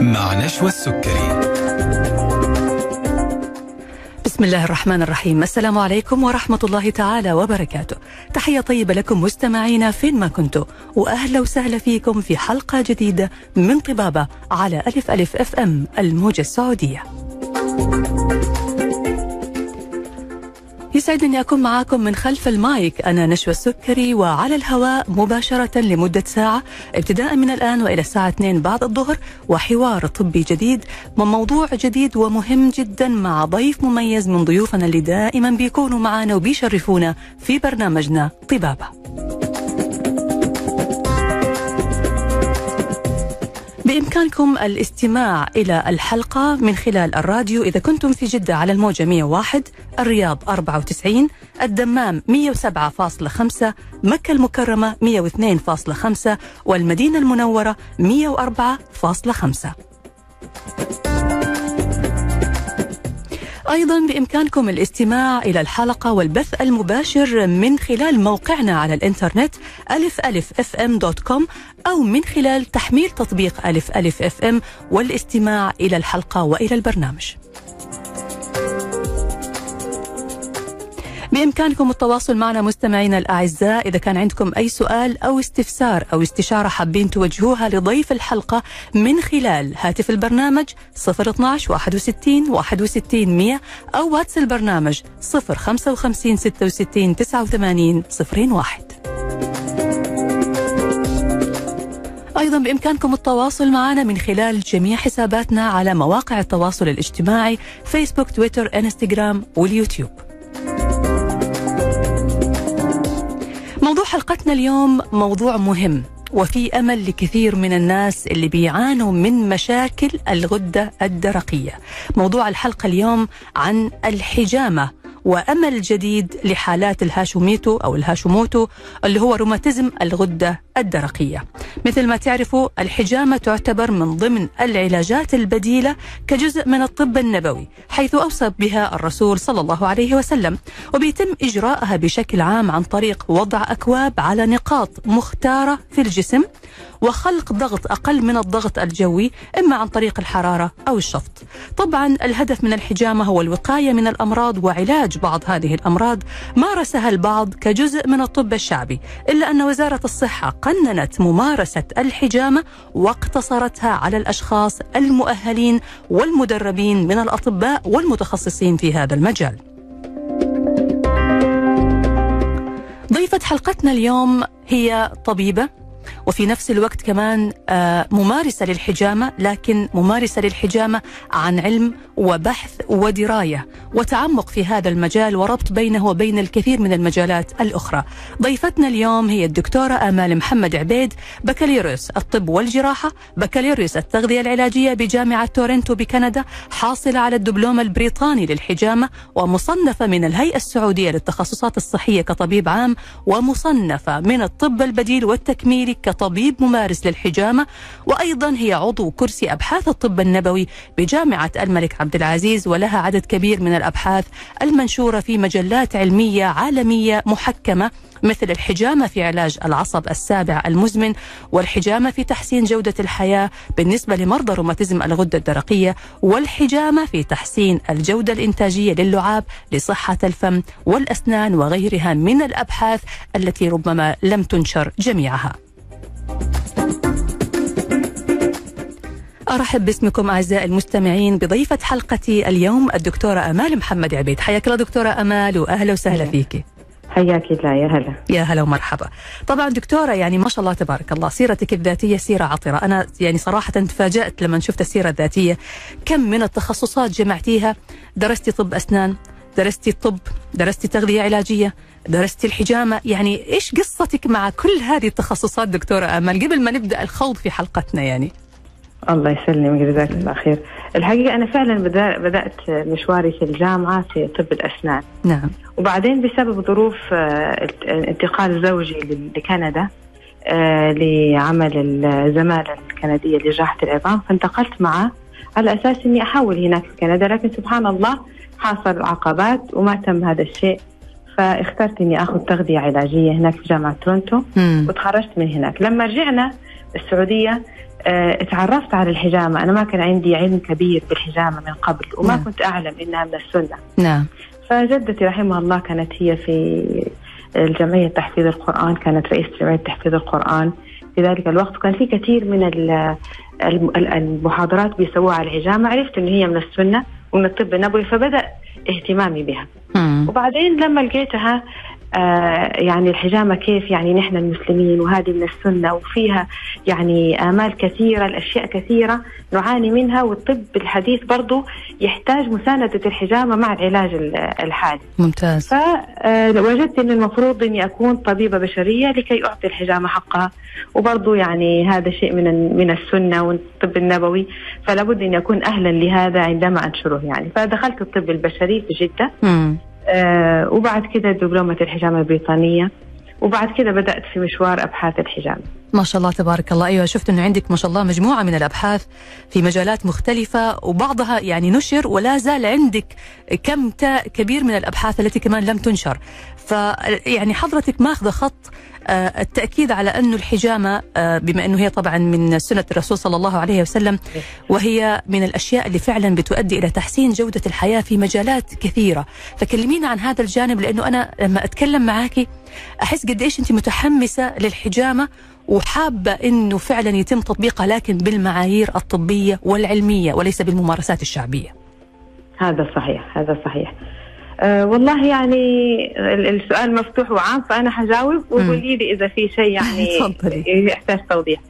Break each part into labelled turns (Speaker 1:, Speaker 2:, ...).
Speaker 1: النشوة السكري
Speaker 2: بسم الله الرحمن الرحيم السلام عليكم ورحمة الله تعالى وبركاته تحية طيبة لكم مستمعينا فين ما كنتوا وأهلا وسهلا فيكم في حلقة جديدة من طبابة على ألف ألف أف أم الموجة السعودية يسعدني أكون معاكم من خلف المايك أنا نشوى السكري وعلى الهواء مباشرة لمدة ساعة ابتداء من الآن وإلى الساعة 2 بعد الظهر وحوار طبي جديد وموضوع جديد ومهم جدا مع ضيف مميز من ضيوفنا اللي دائما بيكونوا معنا وبيشرفونا في برنامجنا طبابة بإمكانكم الاستماع إلى الحلقة من خلال الراديو إذا كنتم في جدة على الموجة 101 الرياض 94 الدمام 107.5 مكة المكرمة 102.5 والمدينة المنورة 104.5 أيضا بإمكانكم الاستماع إلى الحلقة والبث المباشر من خلال موقعنا على الإنترنت ألف ألف أف أم دوت كوم أو من خلال تحميل تطبيق ألف ألف أف أم والاستماع إلى الحلقة وإلى البرنامج بإمكانكم التواصل معنا مستمعينا الأعزاء إذا كان عندكم أي سؤال أو استفسار أو استشارة حابين توجهوها لضيف الحلقة من خلال هاتف البرنامج 012 61 61 100 أو واتس البرنامج 055 66 89 01 أيضا بإمكانكم التواصل معنا من خلال جميع حساباتنا على مواقع التواصل الاجتماعي فيسبوك تويتر انستغرام واليوتيوب موضوع حلقتنا اليوم موضوع مهم وفي امل لكثير من الناس اللي بيعانوا من مشاكل الغده الدرقيه. موضوع الحلقه اليوم عن الحجامه وامل جديد لحالات الهاشوميتو او الهاشوموتو اللي هو روماتيزم الغده الدرقيه. مثل ما تعرفوا الحجامه تعتبر من ضمن العلاجات البديله كجزء من الطب النبوي، حيث اوصى بها الرسول صلى الله عليه وسلم، وبيتم اجراءها بشكل عام عن طريق وضع اكواب على نقاط مختاره في الجسم وخلق ضغط اقل من الضغط الجوي اما عن طريق الحراره او الشفط. طبعا الهدف من الحجامه هو الوقايه من الامراض وعلاج بعض هذه الامراض مارسها البعض كجزء من الطب الشعبي، الا ان وزاره الصحه قننت ممارسه الحجامه واقتصرتها على الاشخاص المؤهلين والمدربين من الاطباء والمتخصصين في هذا المجال. ضيفة حلقتنا اليوم هي طبيبة وفي نفس الوقت كمان آه، ممارسة للحجامة لكن ممارسة للحجامة عن علم وبحث ودراية وتعمق في هذا المجال وربط بينه وبين الكثير من المجالات الأخرى ضيفتنا اليوم هي الدكتورة آمال محمد عبيد بكالوريوس الطب والجراحة بكالوريوس التغذية العلاجية بجامعة تورنتو بكندا حاصلة على الدبلوم البريطاني للحجامة ومصنفة من الهيئة السعودية للتخصصات الصحية كطبيب عام ومصنفة من الطب البديل والتكميلي كطبيب ممارس للحجامة وأيضا هي عضو كرسي أبحاث الطب النبوي بجامعة الملك عبد العزيز ولها عدد كبير من الأبحاث المنشورة في مجلات علمية عالمية محكمة مثل الحجامة في علاج العصب السابع المزمن والحجامة في تحسين جودة الحياة بالنسبة لمرضى روماتيزم الغدة الدرقية والحجامة في تحسين الجودة الإنتاجية للعاب لصحة الفم والأسنان وغيرها من الأبحاث التي ربما لم تنشر جميعها أرحب باسمكم أعزائي المستمعين بضيفة حلقتي اليوم الدكتورة أمال محمد عبيد حياك الله دكتورة أمال وأهلا وسهلا
Speaker 3: هلا.
Speaker 2: فيك
Speaker 3: حياك الله يا هلا
Speaker 2: يا هلا ومرحبا طبعا دكتورة يعني ما شاء الله تبارك الله سيرتك الذاتية سيرة عطرة أنا يعني صراحة تفاجأت لما شفت السيرة الذاتية كم من التخصصات جمعتيها درستي طب أسنان درستي الطب درستي تغذية علاجية درستي الحجامة يعني إيش قصتك مع كل هذه التخصصات دكتورة أمل قبل ما نبدأ الخوض في حلقتنا يعني
Speaker 3: الله يسلمك جزاك الله خير الحقيقة أنا فعلا بدأ- بدأت مشواري في الجامعة في طب الأسنان
Speaker 2: نعم
Speaker 3: وبعدين بسبب ظروف آه، انتقال زوجي لل- لكندا آه، لعمل الزمالة الكندية لجراحة العظام فانتقلت معه على أساس أني أحاول هناك في كندا لكن سبحان الله حاصل عقبات وما تم هذا الشيء فاخترت أني أخذ تغذية علاجية هناك في جامعة تورنتو
Speaker 2: مم.
Speaker 3: وتخرجت من هناك لما رجعنا السعودية آه، تعرفت على الحجامة أنا ما كان عندي علم كبير بالحجامة من قبل وما
Speaker 2: نعم.
Speaker 3: كنت أعلم إنها من السنة
Speaker 2: نعم
Speaker 3: فجدتي رحمها الله كانت هي في الجمعية تحفيظ القرآن كانت رئيسة جمعية تحفيظ القرآن في ذلك الوقت كان في كثير من ال- الم- ال- المحاضرات بيسووها على الحجامة عرفت إن هي من السنة ومن الطب النبوي فبدأ اهتمامي بها
Speaker 2: مم.
Speaker 3: وبعدين لما لقيتها آه يعني الحجامة كيف يعني نحن المسلمين وهذه من السنة وفيها يعني آمال كثيرة الأشياء كثيرة نعاني منها والطب الحديث برضو يحتاج مساندة الحجامة مع العلاج ال- الحالي
Speaker 2: ممتاز
Speaker 3: فوجدت أن المفروض أني أكون طبيبة بشرية لكي أعطي الحجامة حقها وبرضو يعني هذا شيء من من السنة والطب النبوي فلا بد أن أكون أهلا لهذا عندما أنشره يعني فدخلت الطب البشري في جدة
Speaker 2: مم.
Speaker 3: آه، وبعد كده دبلومة الحجامة البريطانية وبعد كده بدأت في مشوار أبحاث الحجامة
Speaker 2: ما شاء الله تبارك الله ايوه شفت انه عندك ما شاء الله مجموعه من الابحاث في مجالات مختلفه وبعضها يعني نشر ولا زال عندك كم تا كبير من الابحاث التي كمان لم تنشر ف يعني حضرتك ماخذه خط آه، التاكيد على انه الحجامه آه، بما انه هي طبعا من سنه الرسول صلى الله عليه وسلم وهي من الاشياء اللي فعلا بتؤدي الى تحسين جوده الحياه في مجالات كثيره فكلمينا عن هذا الجانب لانه انا لما اتكلم معاكي احس قد ايش انت متحمسه للحجامه وحابه انه فعلا يتم تطبيقها لكن بالمعايير الطبيه والعلميه وليس بالممارسات الشعبيه.
Speaker 3: هذا صحيح هذا صحيح أه والله يعني ال- السؤال مفتوح وعام فأنا حجاوب وقولي لي إذا في شيء يعني
Speaker 2: تفضلي.
Speaker 3: يحتاج توضيح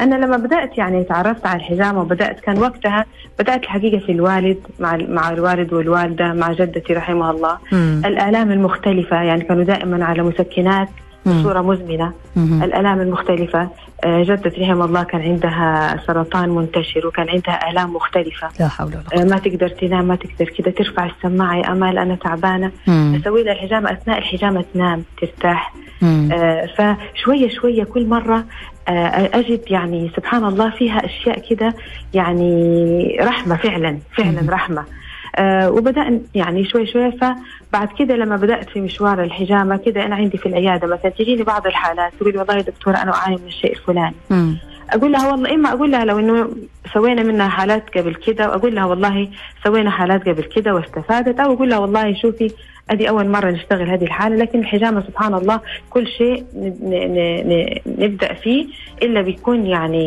Speaker 3: أنا لما بدأت يعني تعرفت على الحجامة وبدأت كان وقتها بدأت الحقيقة في الوالد مع ال- مع الوالد والوالدة مع جدتي رحمها الله الآلام المختلفة يعني كانوا دائما على مسكنات بصورة مزمنة الآلام المختلفة آه، جدتي رحمه الله كان عندها سرطان منتشر وكان عندها آلام مختلفة
Speaker 2: لا حول ولا
Speaker 3: آه،
Speaker 2: قوه.
Speaker 3: ما تقدر تنام ما تقدر كذا ترفع السماعة يا أمال أنا تعبانة
Speaker 2: مم.
Speaker 3: أسوي لها الحجامة أثناء الحجامة تنام ترتاح
Speaker 2: مم.
Speaker 3: آه، فشوية شوية كل مرة آه، أجد يعني سبحان الله فيها أشياء كده يعني رحمة فعلا
Speaker 2: مم.
Speaker 3: فعلا رحمة آه، وبدأنا يعني شوي شوي فبعد كده لما بدأت في مشوار الحجامة كده أنا عندي في العيادة مثلا تجيني بعض الحالات تقول والله يا دكتورة أنا أعاني من الشيء الفلاني
Speaker 2: مم.
Speaker 3: اقول لها والله اما اقول لها لو انه سوينا منها حالات قبل كده واقول لها والله سوينا حالات قبل كده واستفادت او اقول لها والله شوفي هذه اول مره نشتغل هذه الحاله لكن الحجامه سبحان الله كل شيء ن- ن- ن- ن- نبدا فيه الا بيكون يعني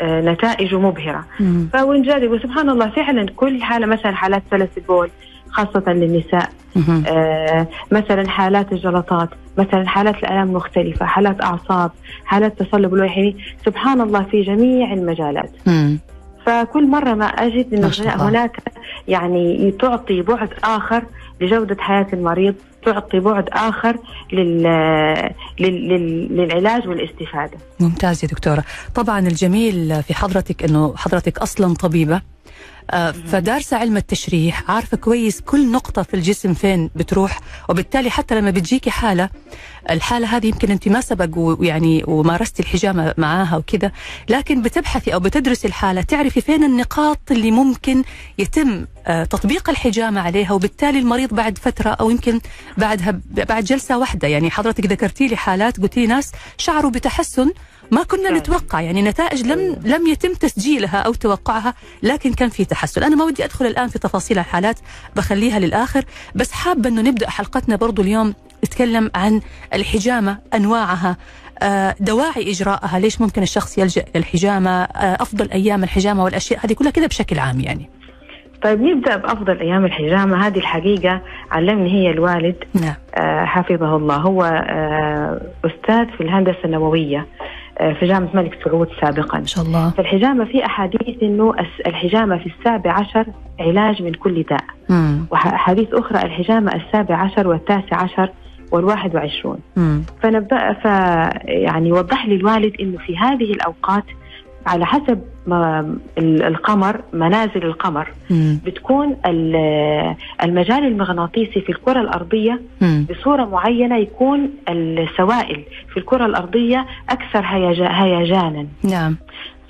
Speaker 3: آه، نتائجه مبهره
Speaker 2: مم.
Speaker 3: فونجرب وسبحان الله فعلا كل حاله مثلا حالات سلس البول خاصه للنساء
Speaker 2: مم.
Speaker 3: آه، مثلا حالات الجلطات مثلا حالات الالام المختلفه حالات اعصاب حالات تصلب الوحي سبحان الله في جميع المجالات
Speaker 2: مم.
Speaker 3: فكل مره ما اجد
Speaker 2: ما شاء
Speaker 3: انه
Speaker 2: الله.
Speaker 3: هناك يعني تعطي بعد اخر لجوده حياه المريض تعطي بعد اخر لل... لل... لل... للعلاج والاستفاده
Speaker 2: ممتاز يا دكتورة طبعا الجميل في حضرتك أنه حضرتك أصلا طبيبة آه، فدارسة علم التشريح عارفة كويس كل نقطة في الجسم فين بتروح وبالتالي حتى لما بتجيكي حالة الحالة هذه يمكن أنت ما سبق ويعني ومارستي الحجامة معاها وكذا لكن بتبحثي أو بتدرسي الحالة تعرفي فين النقاط اللي ممكن يتم آه، تطبيق الحجامة عليها وبالتالي المريض بعد فترة أو يمكن بعدها بعد جلسة واحدة يعني حضرتك ذكرتي لي حالات قلتي لي ناس شعروا بتحسن ما كنا
Speaker 3: فعلاً.
Speaker 2: نتوقع يعني نتائج لم لم يتم تسجيلها او توقعها لكن كان في تحسن انا ما ودي ادخل الان في تفاصيل الحالات بخليها للاخر بس حابه انه نبدا حلقتنا برضو اليوم نتكلم عن الحجامه انواعها آه، دواعي اجرائها ليش ممكن الشخص يلجا للحجامه آه، افضل ايام الحجامه والاشياء هذه كلها كذا بشكل عام يعني
Speaker 3: طيب نبدا بافضل ايام الحجامه هذه الحقيقه علمني هي الوالد
Speaker 2: نعم
Speaker 3: آه، حفظه الله هو آه، أستاذ في الهندسة النووية آه، في جامعة الملك سعود سابقا
Speaker 2: ما شاء الله
Speaker 3: فالحجامة في أحاديث أنه الس- الحجامة في السابع عشر علاج من كل داء
Speaker 2: مم.
Speaker 3: وأحاديث أخرى الحجامة السابع عشر والتاسع عشر والواحد وعشرون
Speaker 2: مم.
Speaker 3: فنبأ ف يعني وضح لي الوالد انه في هذه الاوقات على حسب ما ال- القمر منازل القمر
Speaker 2: مم.
Speaker 3: بتكون ال- المجال المغناطيسي في الكره الارضيه
Speaker 2: مم.
Speaker 3: بصورة معينة يكون السوائل في الكرة الأرضية أكثر هيجا- هيجانا
Speaker 2: نعم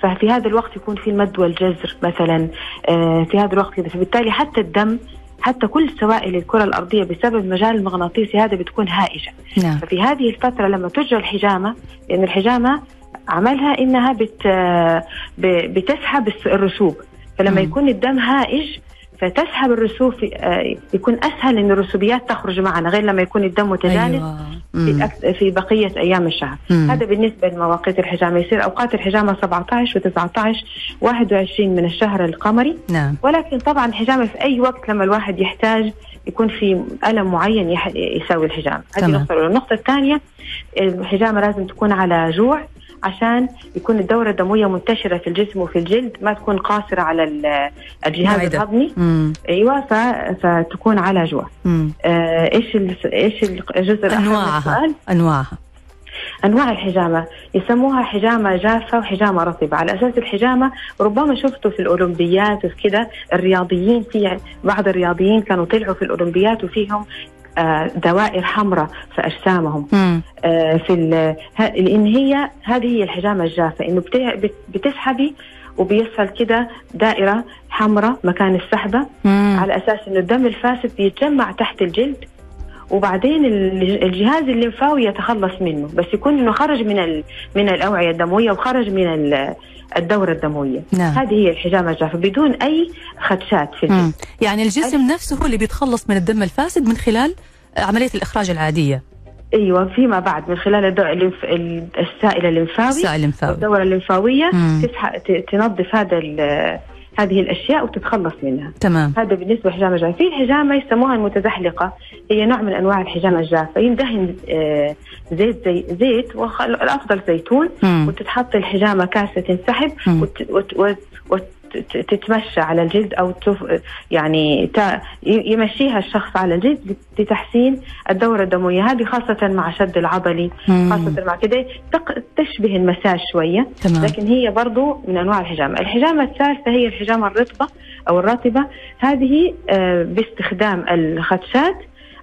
Speaker 3: ففي هذا الوقت يكون في المد والجزر مثلا آه، في هذا الوقت كده فبالتالي حتى الدم حتى كل سوائل الكرة الأرضية بسبب المجال المغناطيسي هذا بتكون هائجة
Speaker 2: نعم
Speaker 3: ففي هذه الفترة لما تجرى الحجامة لأن الحجامة عملها انها بت آه، ب- بتسحب الس- الرسوب فلما
Speaker 2: مم.
Speaker 3: يكون الدم هائج فتسحب الرسوب في- آه، يكون اسهل ان الرسوبيات تخرج معنا غير لما يكون الدم متجانس
Speaker 2: ايوه
Speaker 3: في
Speaker 2: مم.
Speaker 3: أك- في بقيه ايام الشهر
Speaker 2: مم.
Speaker 3: هذا بالنسبه لمواقيت الحجامه يصير اوقات الحجامه 17 و19 21 من الشهر القمري
Speaker 2: نعم
Speaker 3: ولكن طبعا الحجامه في اي وقت لما الواحد يحتاج يكون في الم معين يح... يساوي الحجامه هذه
Speaker 2: تمام.
Speaker 3: النقطه الاولى النقطه الثانيه الحجامه لازم تكون على جوع عشان يكون الدوره الدمويه منتشره في الجسم وفي الجلد ما تكون قاصره على ال- الجهاز
Speaker 2: المعدة.
Speaker 3: الهضمي
Speaker 2: مم.
Speaker 3: ايوه ف... فتكون على جوع
Speaker 2: مم.
Speaker 3: آه، ايش ال... ايش الجزء الآخر من
Speaker 2: أنواعها.
Speaker 3: السؤال؟
Speaker 2: انواعها
Speaker 3: انواع الحجامه يسموها حجامه جافه وحجامه رطبه على اساس الحجامه ربما شفتوا في الاولمبيات وفي كده الرياضيين في يعني بعض الرياضيين كانوا طلعوا في الاولمبيات وفيهم آه، دوائر حمراء في اجسامهم
Speaker 2: مم.
Speaker 3: آه، في ال- ه- لان هي هذه هي الحجامه الجافه انه بت- بت- بتسحبي وبيسهل كده دائره حمراء مكان السحبه
Speaker 2: مم.
Speaker 3: على اساس انه الدم الفاسد بيتجمع تحت الجلد وبعدين ال- الجهاز الليمفاوي يتخلص منه بس يكون انه خرج من ال- من الاوعيه الدمويه وخرج من ال- الدوره الدمويه
Speaker 2: نعم
Speaker 3: هذه هي الحجامه الجافه بدون اي خدشات في الجلد
Speaker 2: مم. يعني الجسم نفسه هو اللي بيتخلص من الدم الفاسد من خلال عمليه الاخراج العاديه
Speaker 3: ايوه فيما بعد من خلال الدو- الليمف- ال- السائل الليمفاوي
Speaker 2: السائل المفاوي
Speaker 3: الدوره الليمفاويه
Speaker 2: مم.
Speaker 3: تسح- ت- تنظف هذا ال- هذه الاشياء وتتخلص منها
Speaker 2: تمام
Speaker 3: هذا بالنسبه للحجامه الجافه، في حجامه يسموها المتزحلقه هي نوع من انواع الحجامه الجافه يندهن آه، زيت زي زيت وخ- الافضل زيتون
Speaker 2: مم.
Speaker 3: وتتحط الحجامه كاسه تنسحب
Speaker 2: مم.
Speaker 3: وت- وت- وت- وت- تتمشى على الجلد او تف... يعني ت... يمشيها الشخص على الجلد لتحسين الدوره الدمويه هذه خاصه مع شد العضلي
Speaker 2: مم.
Speaker 3: خاصه مع كده تق... تشبه المساج شويه
Speaker 2: تمام
Speaker 3: لكن هي برضو من انواع الحجامه، الحجامه الثالثه هي الحجامه الرطبه او الرطبه هذه آه، باستخدام الخدشات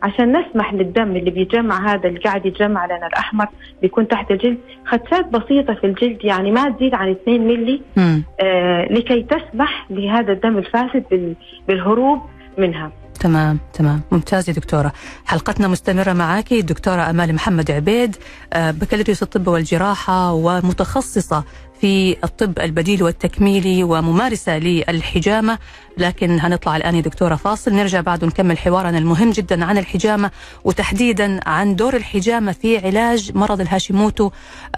Speaker 3: عشان نسمح للدم اللي بيتجمع هذا اللي قاعد يتجمع لنا الاحمر بيكون تحت الجلد خدشات بسيطه في الجلد يعني ما تزيد عن 2 ملي
Speaker 2: مم.
Speaker 3: آه، لكي تسمح لهذا الدم الفاسد بال- بالهروب منها.
Speaker 2: تمام تمام ممتاز يا دكتورة حلقتنا مستمرة معك الدكتورة أمال محمد عبيد آه، بكالوريوس الطب والجراحة ومتخصصة في الطب البديل والتكميلي وممارسة للحجامة لكن هنطلع الآن يا دكتورة فاصل نرجع بعد ونكمل حوارنا المهم جدا عن الحجامة وتحديدا عن دور الحجامة في علاج مرض الهاشيموتو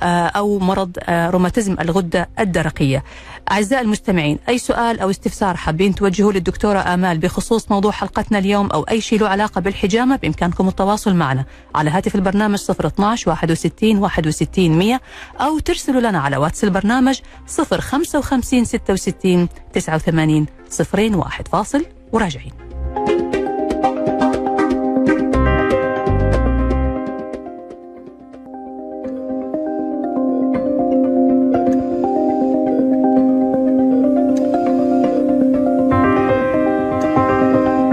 Speaker 2: آه، أو مرض آه، روماتيزم الغدة الدرقية أعزائي المستمعين أي سؤال أو استفسار حابين توجهوه للدكتورة آمال بخصوص موضوع حلقتنا اليوم أو أي شيء له علاقة بالحجامة بإمكانكم التواصل معنا على هاتف البرنامج 012 61 61 100 أو ترسلوا لنا على واتس البرنامج 055 66 89 01 فاصل وراجعين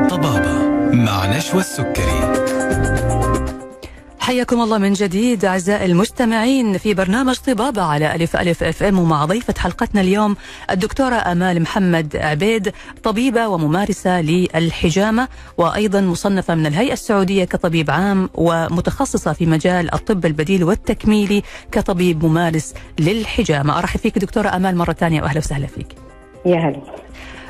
Speaker 1: طبابة مع نشوى السكري
Speaker 2: حياكم الله من جديد أعزائي المستمعين في برنامج طبابة على ألف ألف أف أم ومع ضيفة حلقتنا اليوم الدكتورة أمال محمد عبيد طبيبة وممارسة للحجامة وأيضا مصنفة من الهيئة السعودية كطبيب عام ومتخصصة في مجال الطب البديل والتكميلي كطبيب ممارس للحجامة أرحب فيك دكتورة أمال مرة ثانية وأهلا وسهلا فيك
Speaker 3: يا هلا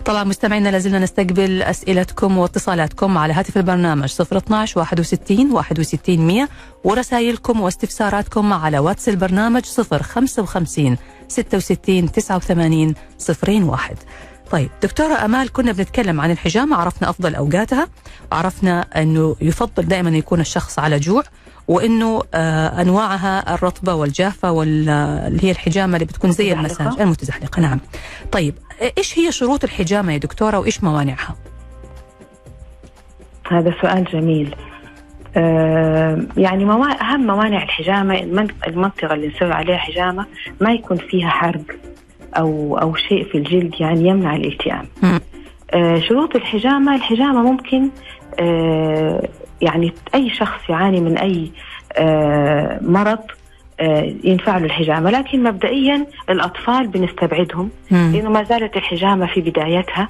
Speaker 2: طبعا مستمعينا لازلنا نستقبل اسئلتكم واتصالاتكم على هاتف البرنامج 012 61 61 100 ورسائلكم واستفساراتكم على واتس البرنامج 055 66 89 01 طيب دكتورة أمال كنا بنتكلم عن الحجامة عرفنا أفضل أوقاتها وعرفنا أنه يفضل دائما يكون الشخص على جوع وأنه آه أنواعها الرطبة والجافة واللي هي الحجامة اللي بتكون زي
Speaker 3: المتزحلقة.
Speaker 2: المساج المتزحلقة نعم طيب ايش هي شروط الحجامه يا دكتوره وايش موانعها؟
Speaker 3: هذا سؤال جميل آه، يعني موا- أهم موانع الحجامة المن- المنطقة اللي نسوي عليها حجامة ما يكون فيها حرق أو أو شيء في الجلد يعني يمنع الالتئام
Speaker 2: مم.
Speaker 3: آه، شروط الحجامة الحجامة ممكن آه، يعني أي شخص يعاني من أي آه، مرض آه، ينفع له الحجامة لكن مبدئيا الأطفال بنستبعدهم
Speaker 2: مم.
Speaker 3: لانه ما زالت الحجامه في بدايتها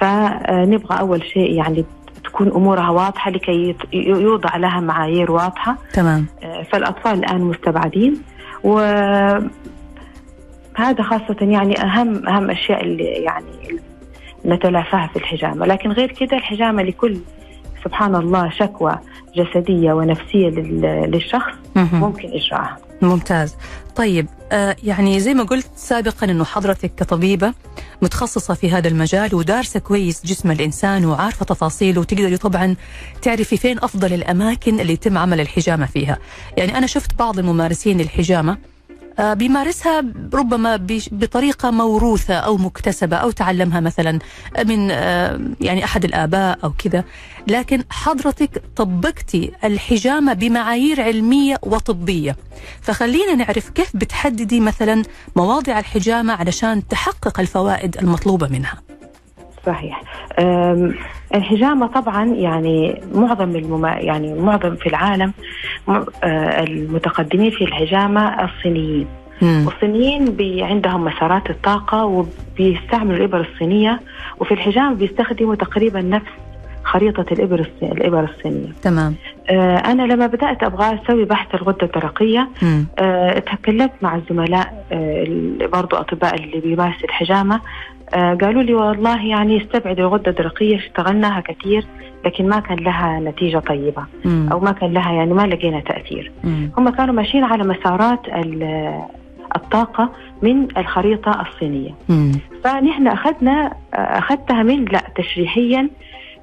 Speaker 3: فنبغى اول شيء يعني تكون امورها واضحه لكي يت- يوضع لها معايير واضحه
Speaker 2: تمام
Speaker 3: آه، فالاطفال الان مستبعدين و هذا خاصة يعني أهم أهم أشياء اللي يعني نتلافاها في الحجامة لكن غير كده الحجامة لكل سبحان الله شكوى جسدية ونفسية لل- للشخص
Speaker 2: مهم.
Speaker 3: ممكن إجراءها
Speaker 2: ممتاز طيب آه يعني زي ما قلت سابقا انه حضرتك كطبيبه متخصصه في هذا المجال ودارسه كويس جسم الانسان وعارفه تفاصيله وتقدري طبعا تعرفي فين افضل الاماكن اللي يتم عمل الحجامه فيها يعني انا شفت بعض الممارسين الحجامه آه، بيمارسها ربما بش- بطريقة موروثة أو مكتسبة أو تعلمها مثلا من آه، يعني أحد الآباء أو كذا لكن حضرتك طبقتي الحجامة بمعايير علمية وطبية فخلينا نعرف كيف بتحددي مثلا مواضع الحجامة علشان تحقق الفوائد المطلوبة منها
Speaker 3: صحيح أم، الحجامة طبعا يعني معظم المما يعني معظم في العالم م- آه، المتقدمين في الحجامة الصينيين
Speaker 2: مم.
Speaker 3: والصينيين بي عندهم مسارات الطاقة وبيستعملوا الإبر الصينية وفي الحجامة بيستخدموا تقريبا نفس خريطة الإبر الص- الإبر الصينية
Speaker 2: تمام
Speaker 3: آه، أنا لما بدأت أبغى أسوي بحث الغدة الدرقية
Speaker 2: مم.
Speaker 3: آه، تكلمت مع الزملاء آه، ال- برضو أطباء اللي بيمارسوا الحجامة آه، قالوا لي والله يعني استبعد الغدة الدرقية اشتغلناها كثير لكن ما كان لها نتيجة طيبة
Speaker 2: مم.
Speaker 3: أو ما كان لها يعني ما لقينا تأثير
Speaker 2: مم.
Speaker 3: هم كانوا ماشيين على مسارات ال- الطاقة من الخريطة الصينية
Speaker 2: مم.
Speaker 3: فنحن أخذنا أخذتها من لا تشريحيا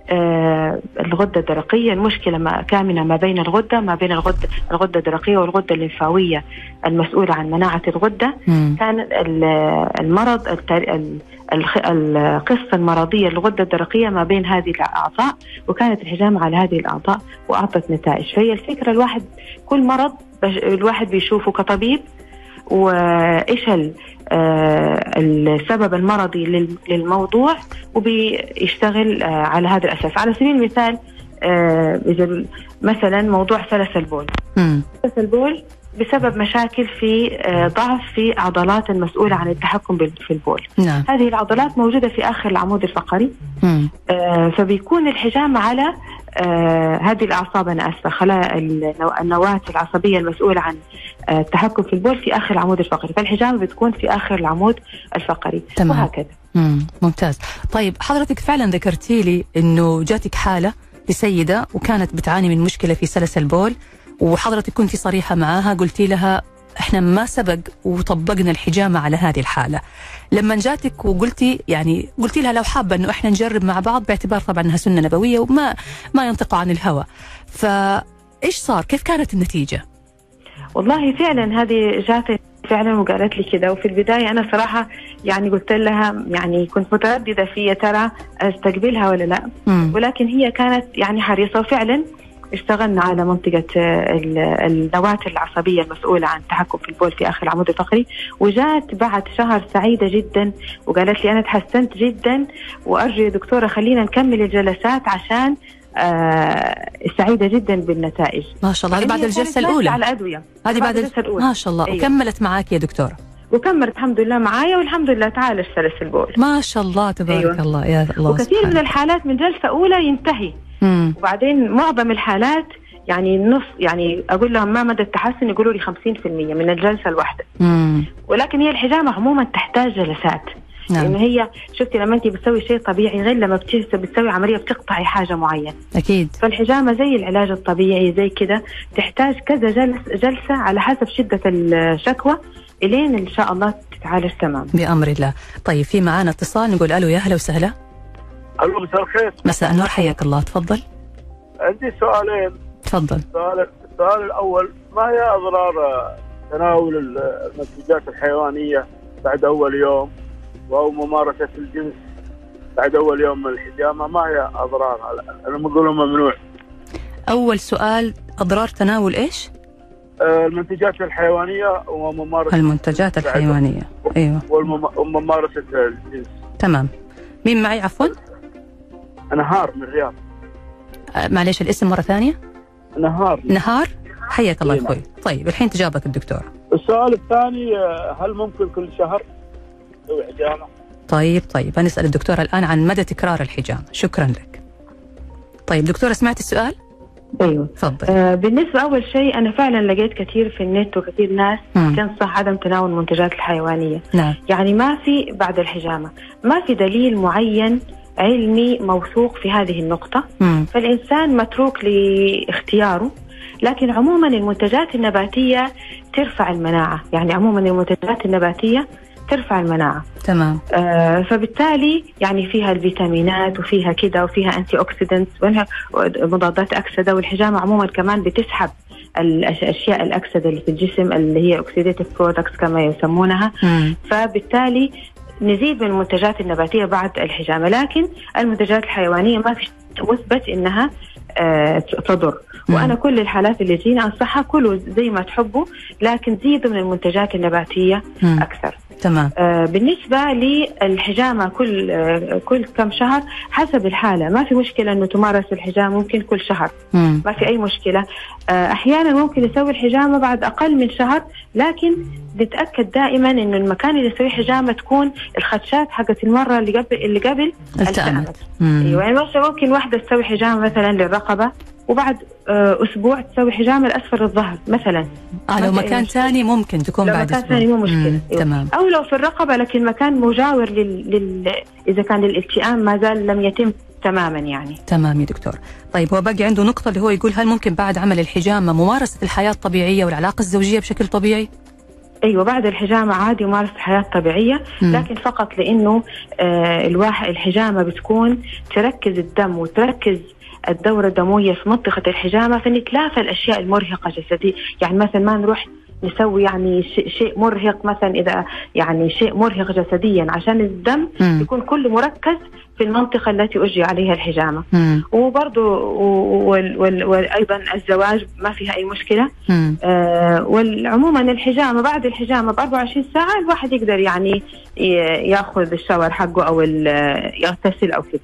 Speaker 3: آه، الغدة الدرقية المشكلة ما كامنة ما بين الغدة ما بين الغدة الغدة الدرقية والغدة الليمفاوية المسؤولة عن مناعة الغدة
Speaker 2: مم.
Speaker 3: كان ال- المرض الت- ال- الخ- القصة المرضية للغدة الدرقية ما بين هذه الأعضاء وكانت الحجامة على هذه الأعضاء وأعطت نتائج فهي الفكرة الواحد كل مرض بش- الواحد بيشوفه كطبيب وايش ال- آه، السبب المرضي لل- للموضوع وبيشتغل آه، على هذا الاساس على سبيل المثال آه، اذا مثلا موضوع سلس البول
Speaker 2: مم.
Speaker 3: سلس البول بسبب مشاكل في آه، ضعف في عضلات المسؤوله عن التحكم بال- في البول
Speaker 2: نعم
Speaker 3: هذه العضلات موجوده في اخر العمود الفقري
Speaker 2: مم.
Speaker 3: آه، فبيكون الحجامة على آه، هذه الأعصاب أنا آسفة خلايا النو- النواة العصبية المسؤولة عن آه، التحكم في البول في آخر العمود الفقري فالحجامة بتكون في آخر العمود الفقري
Speaker 2: تمام.
Speaker 3: وهكذا
Speaker 2: مم. ممتاز طيب حضرتك فعلا ذكرتي لي انه جاتك حاله لسيده وكانت بتعاني من مشكله في سلس البول وحضرتك كنت صريحه معاها قلتي لها احنا ما سبق وطبقنا الحجامه على هذه الحاله لما جاتك وقلتي يعني قلتي لها لو حابه انه احنا نجرب مع بعض باعتبار طبعا انها سنه نبويه وما ما ينطق عن الهوى فايش صار كيف كانت النتيجه
Speaker 3: والله فعلا هذه جات فعلا وقالت لي كده وفي البداية أنا صراحة يعني قلت لها يعني كنت مترددة في يا ترى أستقبلها ولا لا
Speaker 2: مم.
Speaker 3: ولكن هي كانت يعني حريصة وفعلا اشتغلنا على منطقة آه، ال- النواة العصبية المسؤولة عن التحكم في البول في آخر العمود الفقري وجات بعد شهر سعيدة جدا وقالت لي أنا تحسنت جدا وأرجو يا دكتورة خلينا نكمل الجلسات عشان آه سعيدة جدا بالنتائج
Speaker 2: ما شاء الله هذه بعد
Speaker 3: هي كانت
Speaker 2: الجلسه
Speaker 3: ماشية
Speaker 2: الاولى
Speaker 3: على أدوية
Speaker 2: هذه بعد
Speaker 3: الجلسة
Speaker 2: ال-
Speaker 3: الأولى
Speaker 2: ما شاء الله
Speaker 3: أيوة.
Speaker 2: وكملت معاك يا دكتوره
Speaker 3: وكملت الحمد لله معايا والحمد لله تعالج سلس البول
Speaker 2: ما شاء الله تبارك أيوة.
Speaker 3: أيوة.
Speaker 2: الله يا الله
Speaker 3: وكثير من الحالات من جلسة أولى ينتهي
Speaker 2: من
Speaker 3: وبعدين معظم الحالات يعني نص يعني اقول لهم ما مدى التحسن يقولوا لي 50% من الجلسه الواحده ولكن هي الحجامه عموما تحتاج جلسات لان
Speaker 2: نعم
Speaker 3: هي شفتي لما انت بتسوي شيء طبيعي غير لما بتس- بتسوي عمليه بتقطعي حاجه معينه
Speaker 2: اكيد
Speaker 3: فالحجامه زي العلاج الطبيعي زي كده تحتاج كذا جلس جلسه على حسب شده الشكوى الين ان شاء الله تتعالج تمام
Speaker 2: بامر الله طيب في معانا اتصال نقول الو يا اهلا وسهلا
Speaker 4: الو مساء الخير
Speaker 2: مساء النور حياك الله تفضل
Speaker 4: عندي سؤالين
Speaker 2: تفضل
Speaker 4: السؤال السؤال الاول ما هي اضرار آه، تناول ال- المنتوجات الحيوانيه بعد اول يوم او ممارسه الجنس بعد اول يوم من الحجامه ما هي اضرارها؟ لا، انا بقول ممنوع
Speaker 2: اول سؤال اضرار تناول ايش
Speaker 4: آه، المنتجات الحيوانيه وممارسه
Speaker 2: المنتجات الحيوانيه ايوه
Speaker 4: والمم- وممارسه الجنس
Speaker 2: تمام مين معي عفوا
Speaker 4: نهار من الرياض
Speaker 2: آه، معلش الاسم مره ثانيه
Speaker 4: نهار
Speaker 2: نهار حياك الله يا
Speaker 4: إيه،
Speaker 2: اخوي طيب الحين تجاوبك الدكتوره
Speaker 4: السؤال الثاني آه، هل ممكن كل شهر تسوي حجامه؟
Speaker 2: طيب طيب هنسال الدكتوره الان عن مدى تكرار الحجامه شكرا لك طيب دكتوره سمعت السؤال
Speaker 3: ايوه
Speaker 2: تفضل
Speaker 3: آه، بالنسبة أول شيء أنا فعلا لقيت كثير في النت وكثير ناس
Speaker 2: مم.
Speaker 3: تنصح عدم تناول المنتجات الحيوانية
Speaker 2: نعم
Speaker 3: يعني ما في بعد الحجامة ما في دليل معين علمي موثوق في هذه النقطة
Speaker 2: مم.
Speaker 3: فالإنسان متروك لاختياره لكن عموما المنتجات النباتية ترفع المناعة يعني عموما المنتجات النباتية ترفع المناعة
Speaker 2: تمام
Speaker 3: آه فبالتالي يعني فيها الفيتامينات وفيها كده وفيها انتي اوكسيدنت وانها مضادات اكسده والحجامه عموما كمان بتسحب الاشياء الاكسده اللي في الجسم اللي هي اوكسيديتيف برودكتس كما يسمونها
Speaker 2: مم.
Speaker 3: فبالتالي نزيد من المنتجات النباتيه بعد الحجامه لكن المنتجات الحيوانيه ما في مثبت انها آه، تضر
Speaker 2: مم.
Speaker 3: وانا كل الحالات اللي تجيني انصحها كلوا زي ما تحبوا لكن زيدوا من المنتجات النباتيه
Speaker 2: مم.
Speaker 3: اكثر
Speaker 2: تمام
Speaker 3: آه، بالنسبة للحجامة كل آه، كل كم شهر حسب الحالة ما في مشكلة أنه تمارس الحجامة ممكن كل شهر
Speaker 2: مم.
Speaker 3: ما في أي مشكلة آه، أحيانا ممكن يسوي الحجامة بعد أقل من شهر لكن نتأكد دائما أنه المكان اللي يسوي حجامة تكون الخدشات حقت المرة اللي قبل اللي قبل
Speaker 2: التأمت مم.
Speaker 3: أيوة يعني مثلا ممكن واحدة تسوي حجامة مثلا للرقبة وبعد آه، أسبوع تسوي حجامة لأسفل الظهر مثلا
Speaker 2: اه لو
Speaker 3: ما في أي
Speaker 2: مكان
Speaker 3: مشكلة.
Speaker 2: ثاني ممكن تكون
Speaker 3: لو
Speaker 2: بعد
Speaker 3: مكان
Speaker 2: أسبوع.
Speaker 3: ثاني مو مشكلة.
Speaker 2: مم.
Speaker 3: أيوة.
Speaker 2: تمام
Speaker 3: او لو في الرقبه لكن مكان مجاور لل... لل... اذا كان للالتئام ما زال لم يتم تماما يعني
Speaker 2: تمام يا دكتور طيب هو باقي عنده نقطة اللي هو يقول هل ممكن بعد عمل الحجامة ممارسة الحياة الطبيعية والعلاقة الزوجية بشكل طبيعي؟
Speaker 3: ايوه بعد الحجامه عادي يمارس الحياه الطبيعيه
Speaker 2: مم.
Speaker 3: لكن فقط لانه آه الواحد الحجامه بتكون تركز الدم وتركز الدوره الدمويه في منطقه الحجامه فنتلافى الاشياء المرهقه جسديا يعني مثلا ما نروح نسوي يعني شيء- شيء مرهق مثلا اذا يعني شيء مرهق جسديا عشان الدم
Speaker 2: مم.
Speaker 3: يكون كله مركز في المنطقه التي اجري عليها الحجامه
Speaker 2: مم.
Speaker 3: وبرضه وال وال وايضا الزواج ما فيها اي مشكله
Speaker 2: مم.
Speaker 3: آه والعموما الحجامه بعد الحجامه ب 24 ساعه الواحد يقدر يعني ي- ياخذ الشاور حقه او ال- يغتسل او كذا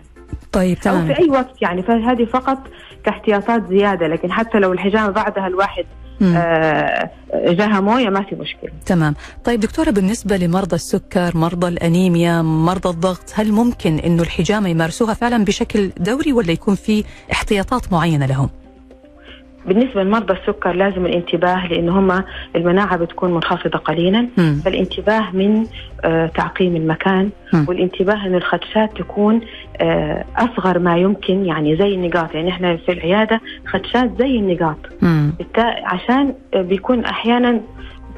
Speaker 2: طيب
Speaker 3: او
Speaker 2: تمام
Speaker 3: في اي وقت يعني فهذه فقط كاحتياطات زياده لكن حتى لو الحجامه بعدها الواحد
Speaker 2: مم.
Speaker 3: آه جاها مويه ما في مشكله
Speaker 2: تمام طيب دكتورة بالنسبة لمرضى السكر مرضى الأنيميا مرضى الضغط هل ممكن أنه الحجامة يمارسوها فعلا بشكل دوري ولا يكون في احتياطات معينة لهم؟
Speaker 3: بالنسبه لمرضى السكر لازم الانتباه لان هم المناعه بتكون منخفضه قليلا
Speaker 2: مم.
Speaker 3: فالانتباه من آه، تعقيم المكان
Speaker 2: مم.
Speaker 3: والانتباه ان الخدشات تكون آه، اصغر ما يمكن يعني زي النقاط يعني احنا في العياده خدشات زي النقاط
Speaker 2: مم.
Speaker 3: بالتا- عشان آه، بيكون احيانا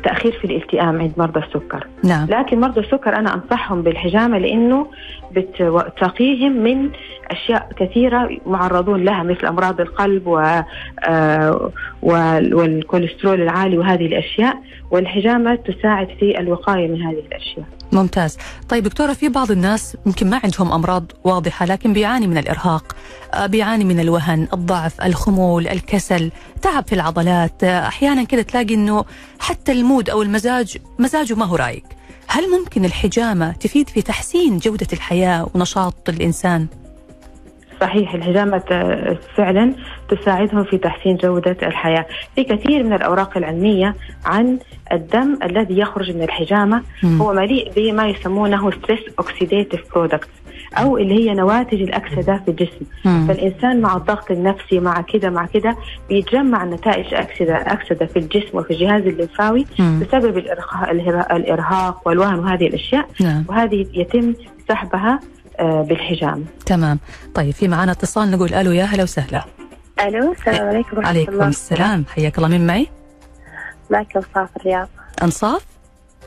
Speaker 3: تاخير في الالتئام عند مرضى السكر
Speaker 2: نعم
Speaker 3: لكن مرضى السكر انا انصحهم بالحجامه لانه بتقيهم من اشياء كثيره معرضون لها مثل امراض القلب و آه، وال- والكوليسترول العالي وهذه الاشياء والحجامه تساعد في الوقايه من هذه الاشياء.
Speaker 2: ممتاز طيب دكتورة في بعض الناس يمكن ما عندهم أمراض واضحة لكن بيعاني من الإرهاق آه، بيعاني من الوهن الضعف الخمول الكسل تعب في العضلات آه، أحيانا كده تلاقي أنه حتى المود أو المزاج مزاجه ما هو رايق هل ممكن الحجامة تفيد في تحسين جودة الحياة ونشاط الإنسان؟
Speaker 3: صحيح الحجامة ت- فعلا تساعدهم في تحسين جودة الحياة في كثير من الأوراق العلمية عن الدم الذي يخرج من الحجامة
Speaker 2: مم.
Speaker 3: هو مليء بما يسمونه ستريس اوكسيديتيف برودكتس أو اللي هي نواتج الأكسدة في الجسم
Speaker 2: مم.
Speaker 3: فالإنسان مع الضغط النفسي مع كده مع كده بيتجمع نتائج أكسدة أكسدة في الجسم وفي الجهاز الليمفاوي
Speaker 2: مم.
Speaker 3: بسبب الإرخاء- الإرهاق الإرهاق والوهن وهذه الأشياء
Speaker 2: نعم
Speaker 3: وهذه يتم سحبها آه، بالحجامة
Speaker 2: تمام طيب في معنا اتصال نقول ألو يا هلا وسهلا
Speaker 5: الو السلام عليكم ورحمه
Speaker 2: عليكم
Speaker 5: الله
Speaker 2: السلام حياك الله من معي؟
Speaker 5: معك اوصاف الرياض
Speaker 2: أنصاف؟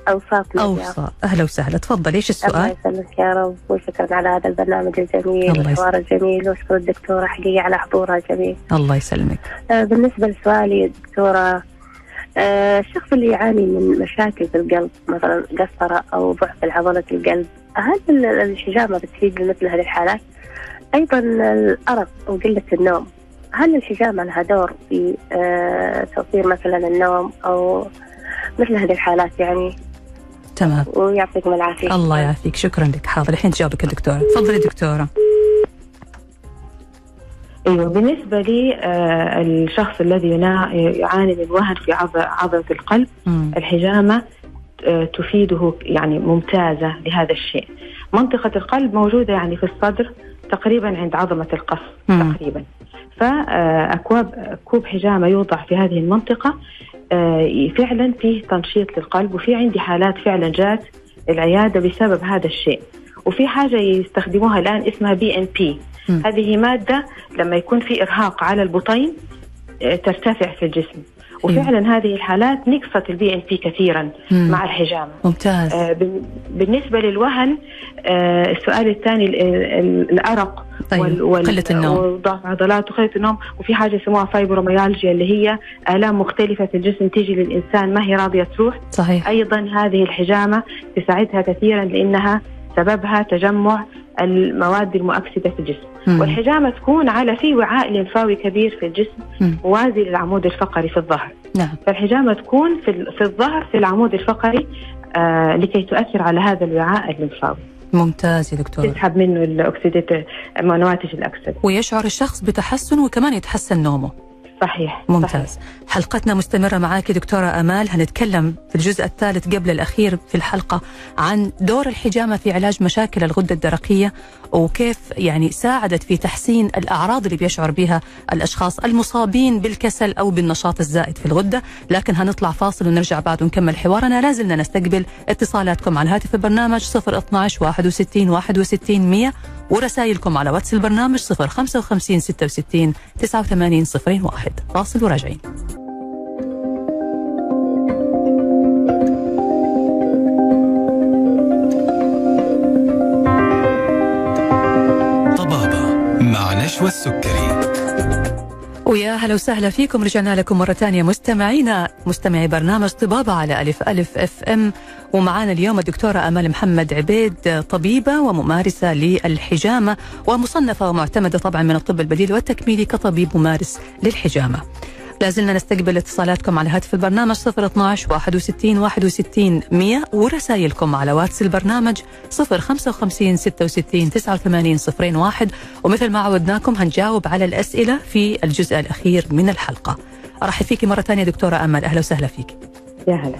Speaker 5: اوصاف من الرياض
Speaker 2: أوصى أهلا وسهلا تفضل إيش
Speaker 5: الله
Speaker 2: السؤال؟
Speaker 5: يسلمك يا رب وشكرا على هذا البرنامج الجميل
Speaker 2: الله
Speaker 5: والحوار الجميل واشكر الدكتوره حقيقه على حضورها الجميل
Speaker 2: الله يسلمك
Speaker 5: آه، بالنسبه لسؤالي يا دكتوره آه، الشخص اللي يعاني من مشاكل في القلب مثلا قسطره او ضعف عضله القلب هل ال- الحجامه بتفيد لمثل هذه الحالات؟ ايضا الارق وقله النوم هل الحجامه لها دور في آه، توفير مثلا النوم او مثل هذه الحالات يعني؟
Speaker 2: تمام
Speaker 5: ويعطيكم العافيه
Speaker 2: الله يعافيك شكرا لك حاضر الحين تجاوبك الدكتوره تفضلي دكتوره
Speaker 3: ايوه بالنسبه لي آه، الشخص الذي ينا- يعاني من وهن في عض- عضله القلب
Speaker 2: مم.
Speaker 3: الحجامه آه، تفيده يعني ممتازه لهذا الشيء منطقه القلب موجوده يعني في الصدر تقريبا عند عظمة القف
Speaker 2: مم.
Speaker 3: تقريبا فأكواب آه، كوب حجامة يوضع في هذه المنطقة آه، فعلا فيه تنشيط للقلب وفي عندي حالات فعلا جات العيادة بسبب هذا الشيء وفي حاجة يستخدموها الآن اسمها بي ان بي
Speaker 2: مم.
Speaker 3: هذه مادة لما يكون في إرهاق على البطين آه، ترتفع في الجسم
Speaker 2: إيه.
Speaker 3: وفعلا هذه الحالات نقصت البي ان بي كثيرا
Speaker 2: مم.
Speaker 3: مع الحجامة
Speaker 2: ممتاز
Speaker 3: آه، بال- بالنسبة للوهن آه، السؤال الثاني ال- ال- الأرق
Speaker 2: طيب قلة النوم
Speaker 3: وضعف عضلات وقلة النوم وفي حاجة يسموها فايبروميالجيا اللي هي آلام مختلفة في الجسم تيجي للإنسان ما هي راضية تروح
Speaker 2: صحيح
Speaker 3: أيضا هذه الحجامة تساعدها كثيرا لأنها سببها تجمع المواد المؤكسدة في الجسم
Speaker 2: مم.
Speaker 3: والحجامة تكون على في وعاء لمفاوي كبير في الجسم
Speaker 2: مم.
Speaker 3: موازي للعمود الفقري في الظهر
Speaker 2: نعم
Speaker 3: فالحجامة تكون في, ال- في الظهر في العمود الفقري آه لكي تؤثر على هذا الوعاء اللمفاوي
Speaker 2: ممتاز يا دكتور
Speaker 3: تسحب منه الأكسدات نواتج الأكسدة
Speaker 2: ويشعر الشخص بتحسن وكمان يتحسن نومه
Speaker 3: صحيح صحيح.
Speaker 2: ممتاز حلقتنا مستمرة معاك دكتورة أمال هنتكلم في الجزء الثالث قبل الأخير في الحلقة عن دور الحجامة في علاج مشاكل الغدة الدرقية وكيف يعني ساعدت في تحسين الأعراض اللي بيشعر بها الأشخاص المصابين بالكسل أو بالنشاط الزائد في الغدة لكن هنطلع فاصل ونرجع بعد ونكمل حوارنا لازلنا نستقبل اتصالاتكم على هاتف البرنامج 012 61 61 100 ورسائلكم على واتس البرنامج 055 66 89 01 فاصل وراجعين
Speaker 1: طبابة مع نشوى السكري
Speaker 2: ويا هلا وسهلا فيكم رجعنا لكم مرة ثانية مستمعينا مستمعي برنامج طبابة على ألف ألف أف أم ومعانا اليوم الدكتورة أمال محمد عبيد طبيبة وممارسة للحجامة ومصنفة ومعتمدة طبعا من الطب البديل والتكميلي كطبيب ممارس للحجامة لازلنا نستقبل اتصالاتكم على هاتف البرنامج 012 61 61 100 ورسائلكم على واتس البرنامج 055 66 89 01 ومثل ما عودناكم هنجاوب على الأسئلة في الجزء الأخير من الحلقة أرحب فيك مرة ثانية دكتورة أمل أهلا وسهلا فيك
Speaker 3: يا هلا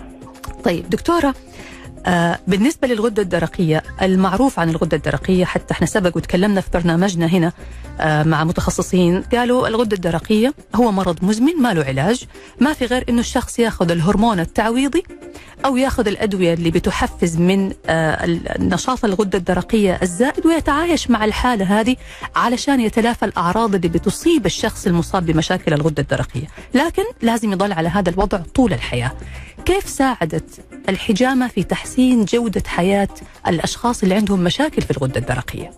Speaker 2: طيب دكتورة آه، بالنسبة للغدة الدرقية المعروف عن الغدة الدرقية حتى احنا سبق وتكلمنا في برنامجنا هنا آه، مع متخصصين قالوا الغدة الدرقية هو مرض مزمن ما له علاج ما في غير انه الشخص ياخذ الهرمون التعويضي او ياخذ الادوية اللي بتحفز من آه، ال- نشاط الغدة الدرقية الزائد ويتعايش مع الحالة هذه علشان يتلافى الاعراض اللي بتصيب الشخص المصاب بمشاكل الغدة الدرقية لكن لازم يضل على هذا الوضع طول الحياة كيف ساعدت الحجامة في تحسين جودة حياة الأشخاص اللي عندهم مشاكل في الغدة الدرقية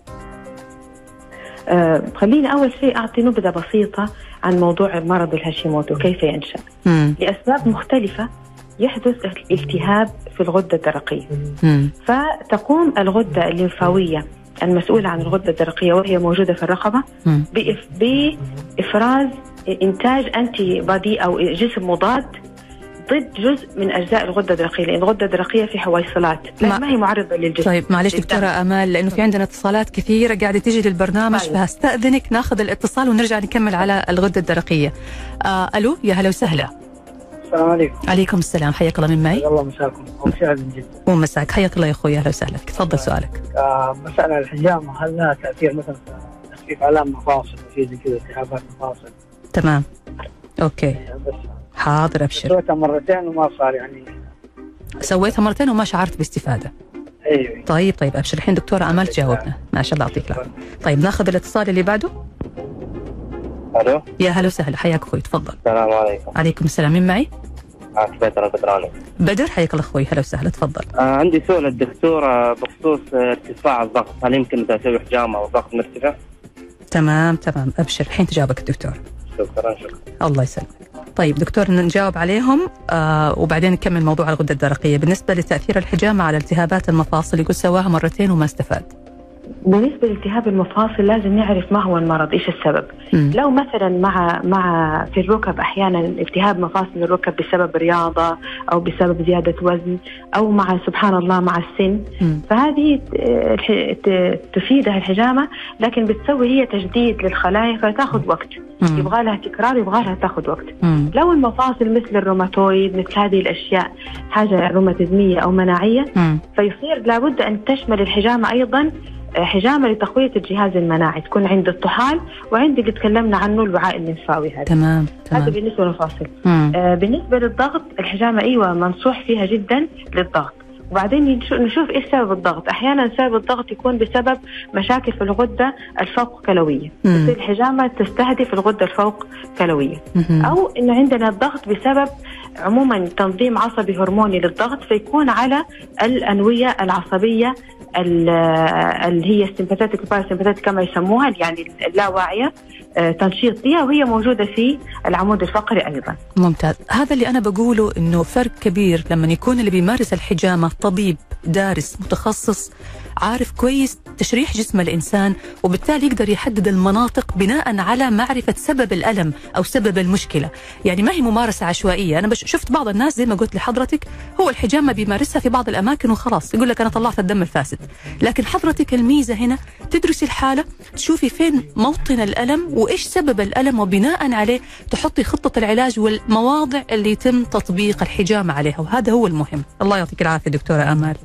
Speaker 3: آه، خليني أول شيء أعطي نبذة بسيطة عن موضوع مرض الهاشيموتو كيف ينشأ
Speaker 2: مم.
Speaker 3: لأسباب مختلفة يحدث التهاب في الغدة الدرقية
Speaker 2: مم.
Speaker 3: فتقوم الغدة الليمفاوية المسؤولة عن الغدة الدرقية وهي موجودة في الرقبة
Speaker 2: مم.
Speaker 3: بإف- بإفراز إنتاج أنتي بادي أو جسم مضاد ضد جزء من أجزاء الغدة الدرقية لأن الغدة الدرقية في حويصلات
Speaker 2: ما-
Speaker 3: ما, ما هي معرضة للجسم
Speaker 2: طيب معلش
Speaker 3: للدم.
Speaker 2: دكتورة أمال لأنه في عندنا اتصالات كثيرة قاعدة تيجي للبرنامج
Speaker 3: طيب.
Speaker 2: فهستأذنك ناخذ الاتصال ونرجع نكمل على الغدة الدرقية آه ألو يا هلا وسهلا
Speaker 6: السلام عليكم
Speaker 2: عليكم السلام حياك الله من معي
Speaker 6: الله مساكم ومساعد من جد
Speaker 2: ومساك حياك الله يا أخوي أهلا وسهلا فيك تفضل سؤالك
Speaker 6: آه، مسألة الحجامة هل لها تأثير مثلا في تخفيف آلام مفاصل وشيء زي كذا التهابات مفاصل
Speaker 2: تمام أوكي
Speaker 6: يعني بس
Speaker 2: حاضر أبشر
Speaker 6: سويتها مرتين وما صار يعني
Speaker 2: سويتها مرتين وما شعرت باستفادة
Speaker 6: ايوه
Speaker 2: طيب طيب أبشر الحين دكتورة أمال تجاوبنا ما شاء الله يعطيك العافية طيب ناخذ الاتصال اللي بعده
Speaker 7: الو
Speaker 2: يا هلا وسهلا حياك اخوي تفضل
Speaker 7: السلام عليكم
Speaker 2: عليكم السلام من معي
Speaker 7: معك بدر القدراني
Speaker 2: بدر حياك الله اخوي هلا وسهلا تفضل
Speaker 7: آه عندي سؤال للدكتور بخصوص آه، ارتفاع الضغط هل يمكن إذا اسوي حجامه والضغط مرتفع؟
Speaker 2: تمام تمام ابشر الحين تجاوبك الدكتور
Speaker 7: شكرا شكرا
Speaker 2: الله يسلمك طيب دكتور نجاوب عليهم آه وبعدين نكمل موضوع الغده الدرقيه بالنسبه لتاثير الحجامه على التهابات المفاصل يقول سواها مرتين وما استفاد
Speaker 3: بالنسبة لالتهاب المفاصل لازم نعرف ما هو المرض إيش السبب
Speaker 2: مم.
Speaker 3: لو مثلا مع مع في الركب احيانا التهاب مفاصل الركب بسبب رياضه او بسبب زياده وزن او مع سبحان الله مع السن
Speaker 2: مم.
Speaker 3: فهذه آه، الح- ت- تفيدها الحجامه لكن بتسوي هي تجديد للخلايا فتاخذ وقت
Speaker 2: مم.
Speaker 3: يبغى لها تكرار يبغى لها تاخذ وقت
Speaker 2: مم.
Speaker 3: لو المفاصل مثل الروماتويد مثل هذه الاشياء حاجه روماتيزميه او مناعيه
Speaker 2: مم.
Speaker 3: فيصير لابد ان تشمل الحجامه ايضا آه، حجامه لتقويه الجهاز المناعي تكون عند الطحال وعند اللي تكلمنا عنه الوعاء النمفاوي هذا
Speaker 2: تمام
Speaker 3: هذا
Speaker 2: تمام
Speaker 3: بالنسبه للمفاصل
Speaker 2: مم.
Speaker 3: آه، بالنسبه للضغط الحجامه ايوه منصوح فيها جدا للضغط وبعدين نش- نشوف ايش سبب الضغط احيانا سبب الضغط يكون بسبب مشاكل في الغده الفوق كلويه
Speaker 2: مم.
Speaker 3: تصير الحجامه تستهدف الغده الفوق كلويه
Speaker 2: مهم.
Speaker 3: او انه عندنا الضغط بسبب عموما تنظيم عصبي هرموني للضغط فيكون على الانويه العصبيه ال- اللي هي السمباتيك والباراسمباتيك كما يسموها يعني اللاواعيه آه، تنشيط ليها وهي موجوده في العمود الفقري ايضا.
Speaker 2: ممتاز هذا اللي أنا بقوله إنه فرق كبير لما يكون اللي بيمارس الحجامة طبيب دارس متخصص عارف كويس تشريح جسم الإنسان وبالتالي يقدر يحدد المناطق بناء على معرفة سبب الألم أو سبب المشكلة يعني ما هي ممارسة عشوائية أنا بش شفت بعض الناس زي ما قلت لحضرتك هو الحجامة بيمارسها في بعض الأماكن وخلاص يقول لك أنا طلعت الدم الفاسد لكن حضرتك الميزة هنا تدرسي الحالة تشوفي فين موطن الألم وإيش سبب الألم وبناء عليه تحطي خطة العلاج والمواضع اللي يتم تطبيق الحجامة عليها وهذا هو المهم الله يعطيك العافية دكتورة آمال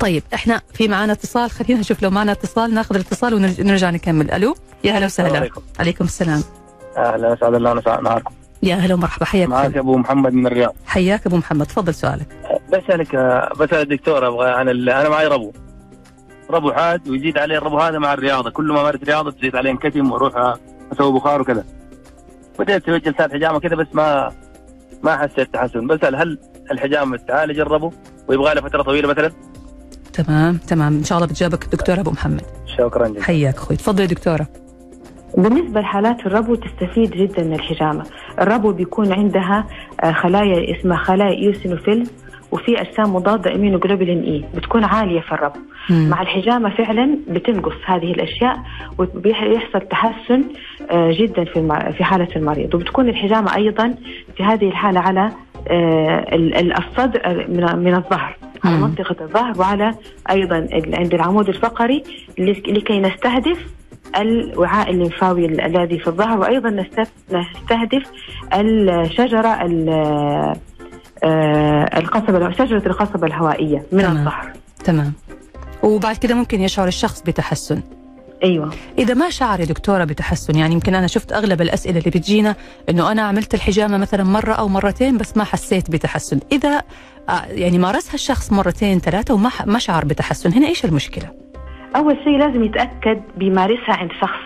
Speaker 2: طيب احنا في معنا اتصال خلينا نشوف لو معنا اتصال ناخذ الاتصال ونرجع نكمل الو يا هلا وسهلا
Speaker 7: عليكم
Speaker 2: عليكم السلام
Speaker 7: اهلا اسعد الله مساء نهاركم
Speaker 2: يا هلا ومرحبا حياك
Speaker 7: معك
Speaker 2: خالد.
Speaker 7: ابو محمد من الرياض
Speaker 2: حياك ابو محمد تفضل سؤالك
Speaker 7: بسالك بسال الدكتور ابغى عن ال- انا معي ربو ربو حاد ويزيد عليه الربو هذا مع الرياضه كل ما مارس رياضه تزيد عليه انكتم واروح اسوي بخار وكذا بديت اسوي جلسات حجامه كذا بس ما ما حسيت تحسن بسال هل الحجامه تعالج الربو ويبغى له فتره طويله مثلا
Speaker 2: تمام تمام ان شاء الله بتجابك الدكتوره ابو محمد
Speaker 7: شكرا جدا
Speaker 2: حياك اخوي تفضلي دكتوره
Speaker 3: بالنسبة لحالات الربو تستفيد جدا من الحجامة الربو بيكون عندها آه، خلايا اسمها خلايا إيوسينوفيل وفي أجسام مضادة إمينو جلوبولين إي بتكون عالية في الربو
Speaker 2: مم.
Speaker 3: مع الحجامة فعلا بتنقص هذه الأشياء وبيحصل تحسن آه، جدا في الم- في حالة المريض وبتكون الحجامة أيضا في هذه الحالة على آه، ال- ال- الصدر آه، من- من الظهر على
Speaker 2: مم.
Speaker 3: منطقة الظهر وعلى أيضا ال- عند العمود الفقري لك- لكي نستهدف الوعاء الليمفاوي ال- الذي في الظهر وأيضا نست- نستهدف الشجرة ال- آه، القصبة شجرة القصبة الهوائية من
Speaker 2: تمام.
Speaker 3: الظهر
Speaker 2: تمام وبعد كده ممكن يشعر الشخص بتحسن
Speaker 3: أيوه
Speaker 2: إذا ما شعر يا دكتورة بتحسن يعني يمكن أنا شفت أغلب الأسئلة اللي بتجينا إنه أنا عملت الحجامة مثلا مرة أو مرتين بس ما حسيت بتحسن إذا آه، يعني مارسها الشخص مرتين ثلاثة وما ح- ما شعر بتحسن هنا إيش المشكلة؟
Speaker 3: أول شيء لازم يتأكد بيمارسها عند شخص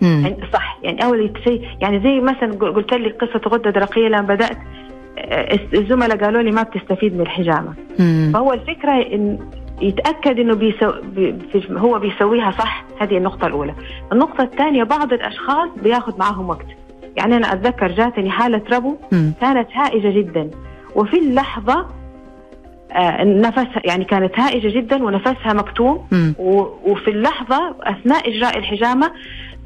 Speaker 2: مم.
Speaker 3: يعني صح يعني اول شيء يعني زي مثلا قل- قلت لك قصه غده درقيه لما بدات آه، الزملاء قالوا لي ما بتستفيد من الحجامه
Speaker 2: مم.
Speaker 3: فهو الفكره ان يتاكد انه بيسو... بي... في- هو بيسويها صح هذه النقطه الاولى النقطه الثانيه بعض الاشخاص بياخذ معاهم وقت يعني انا اتذكر جاتني حاله ربو
Speaker 2: مم.
Speaker 3: كانت هائجه جدا وفي اللحظه آه، نفسها يعني كانت هائجه جدا ونفسها مكتوم
Speaker 2: مم.
Speaker 3: و- وفي اللحظة أثناء إجراء الحجامة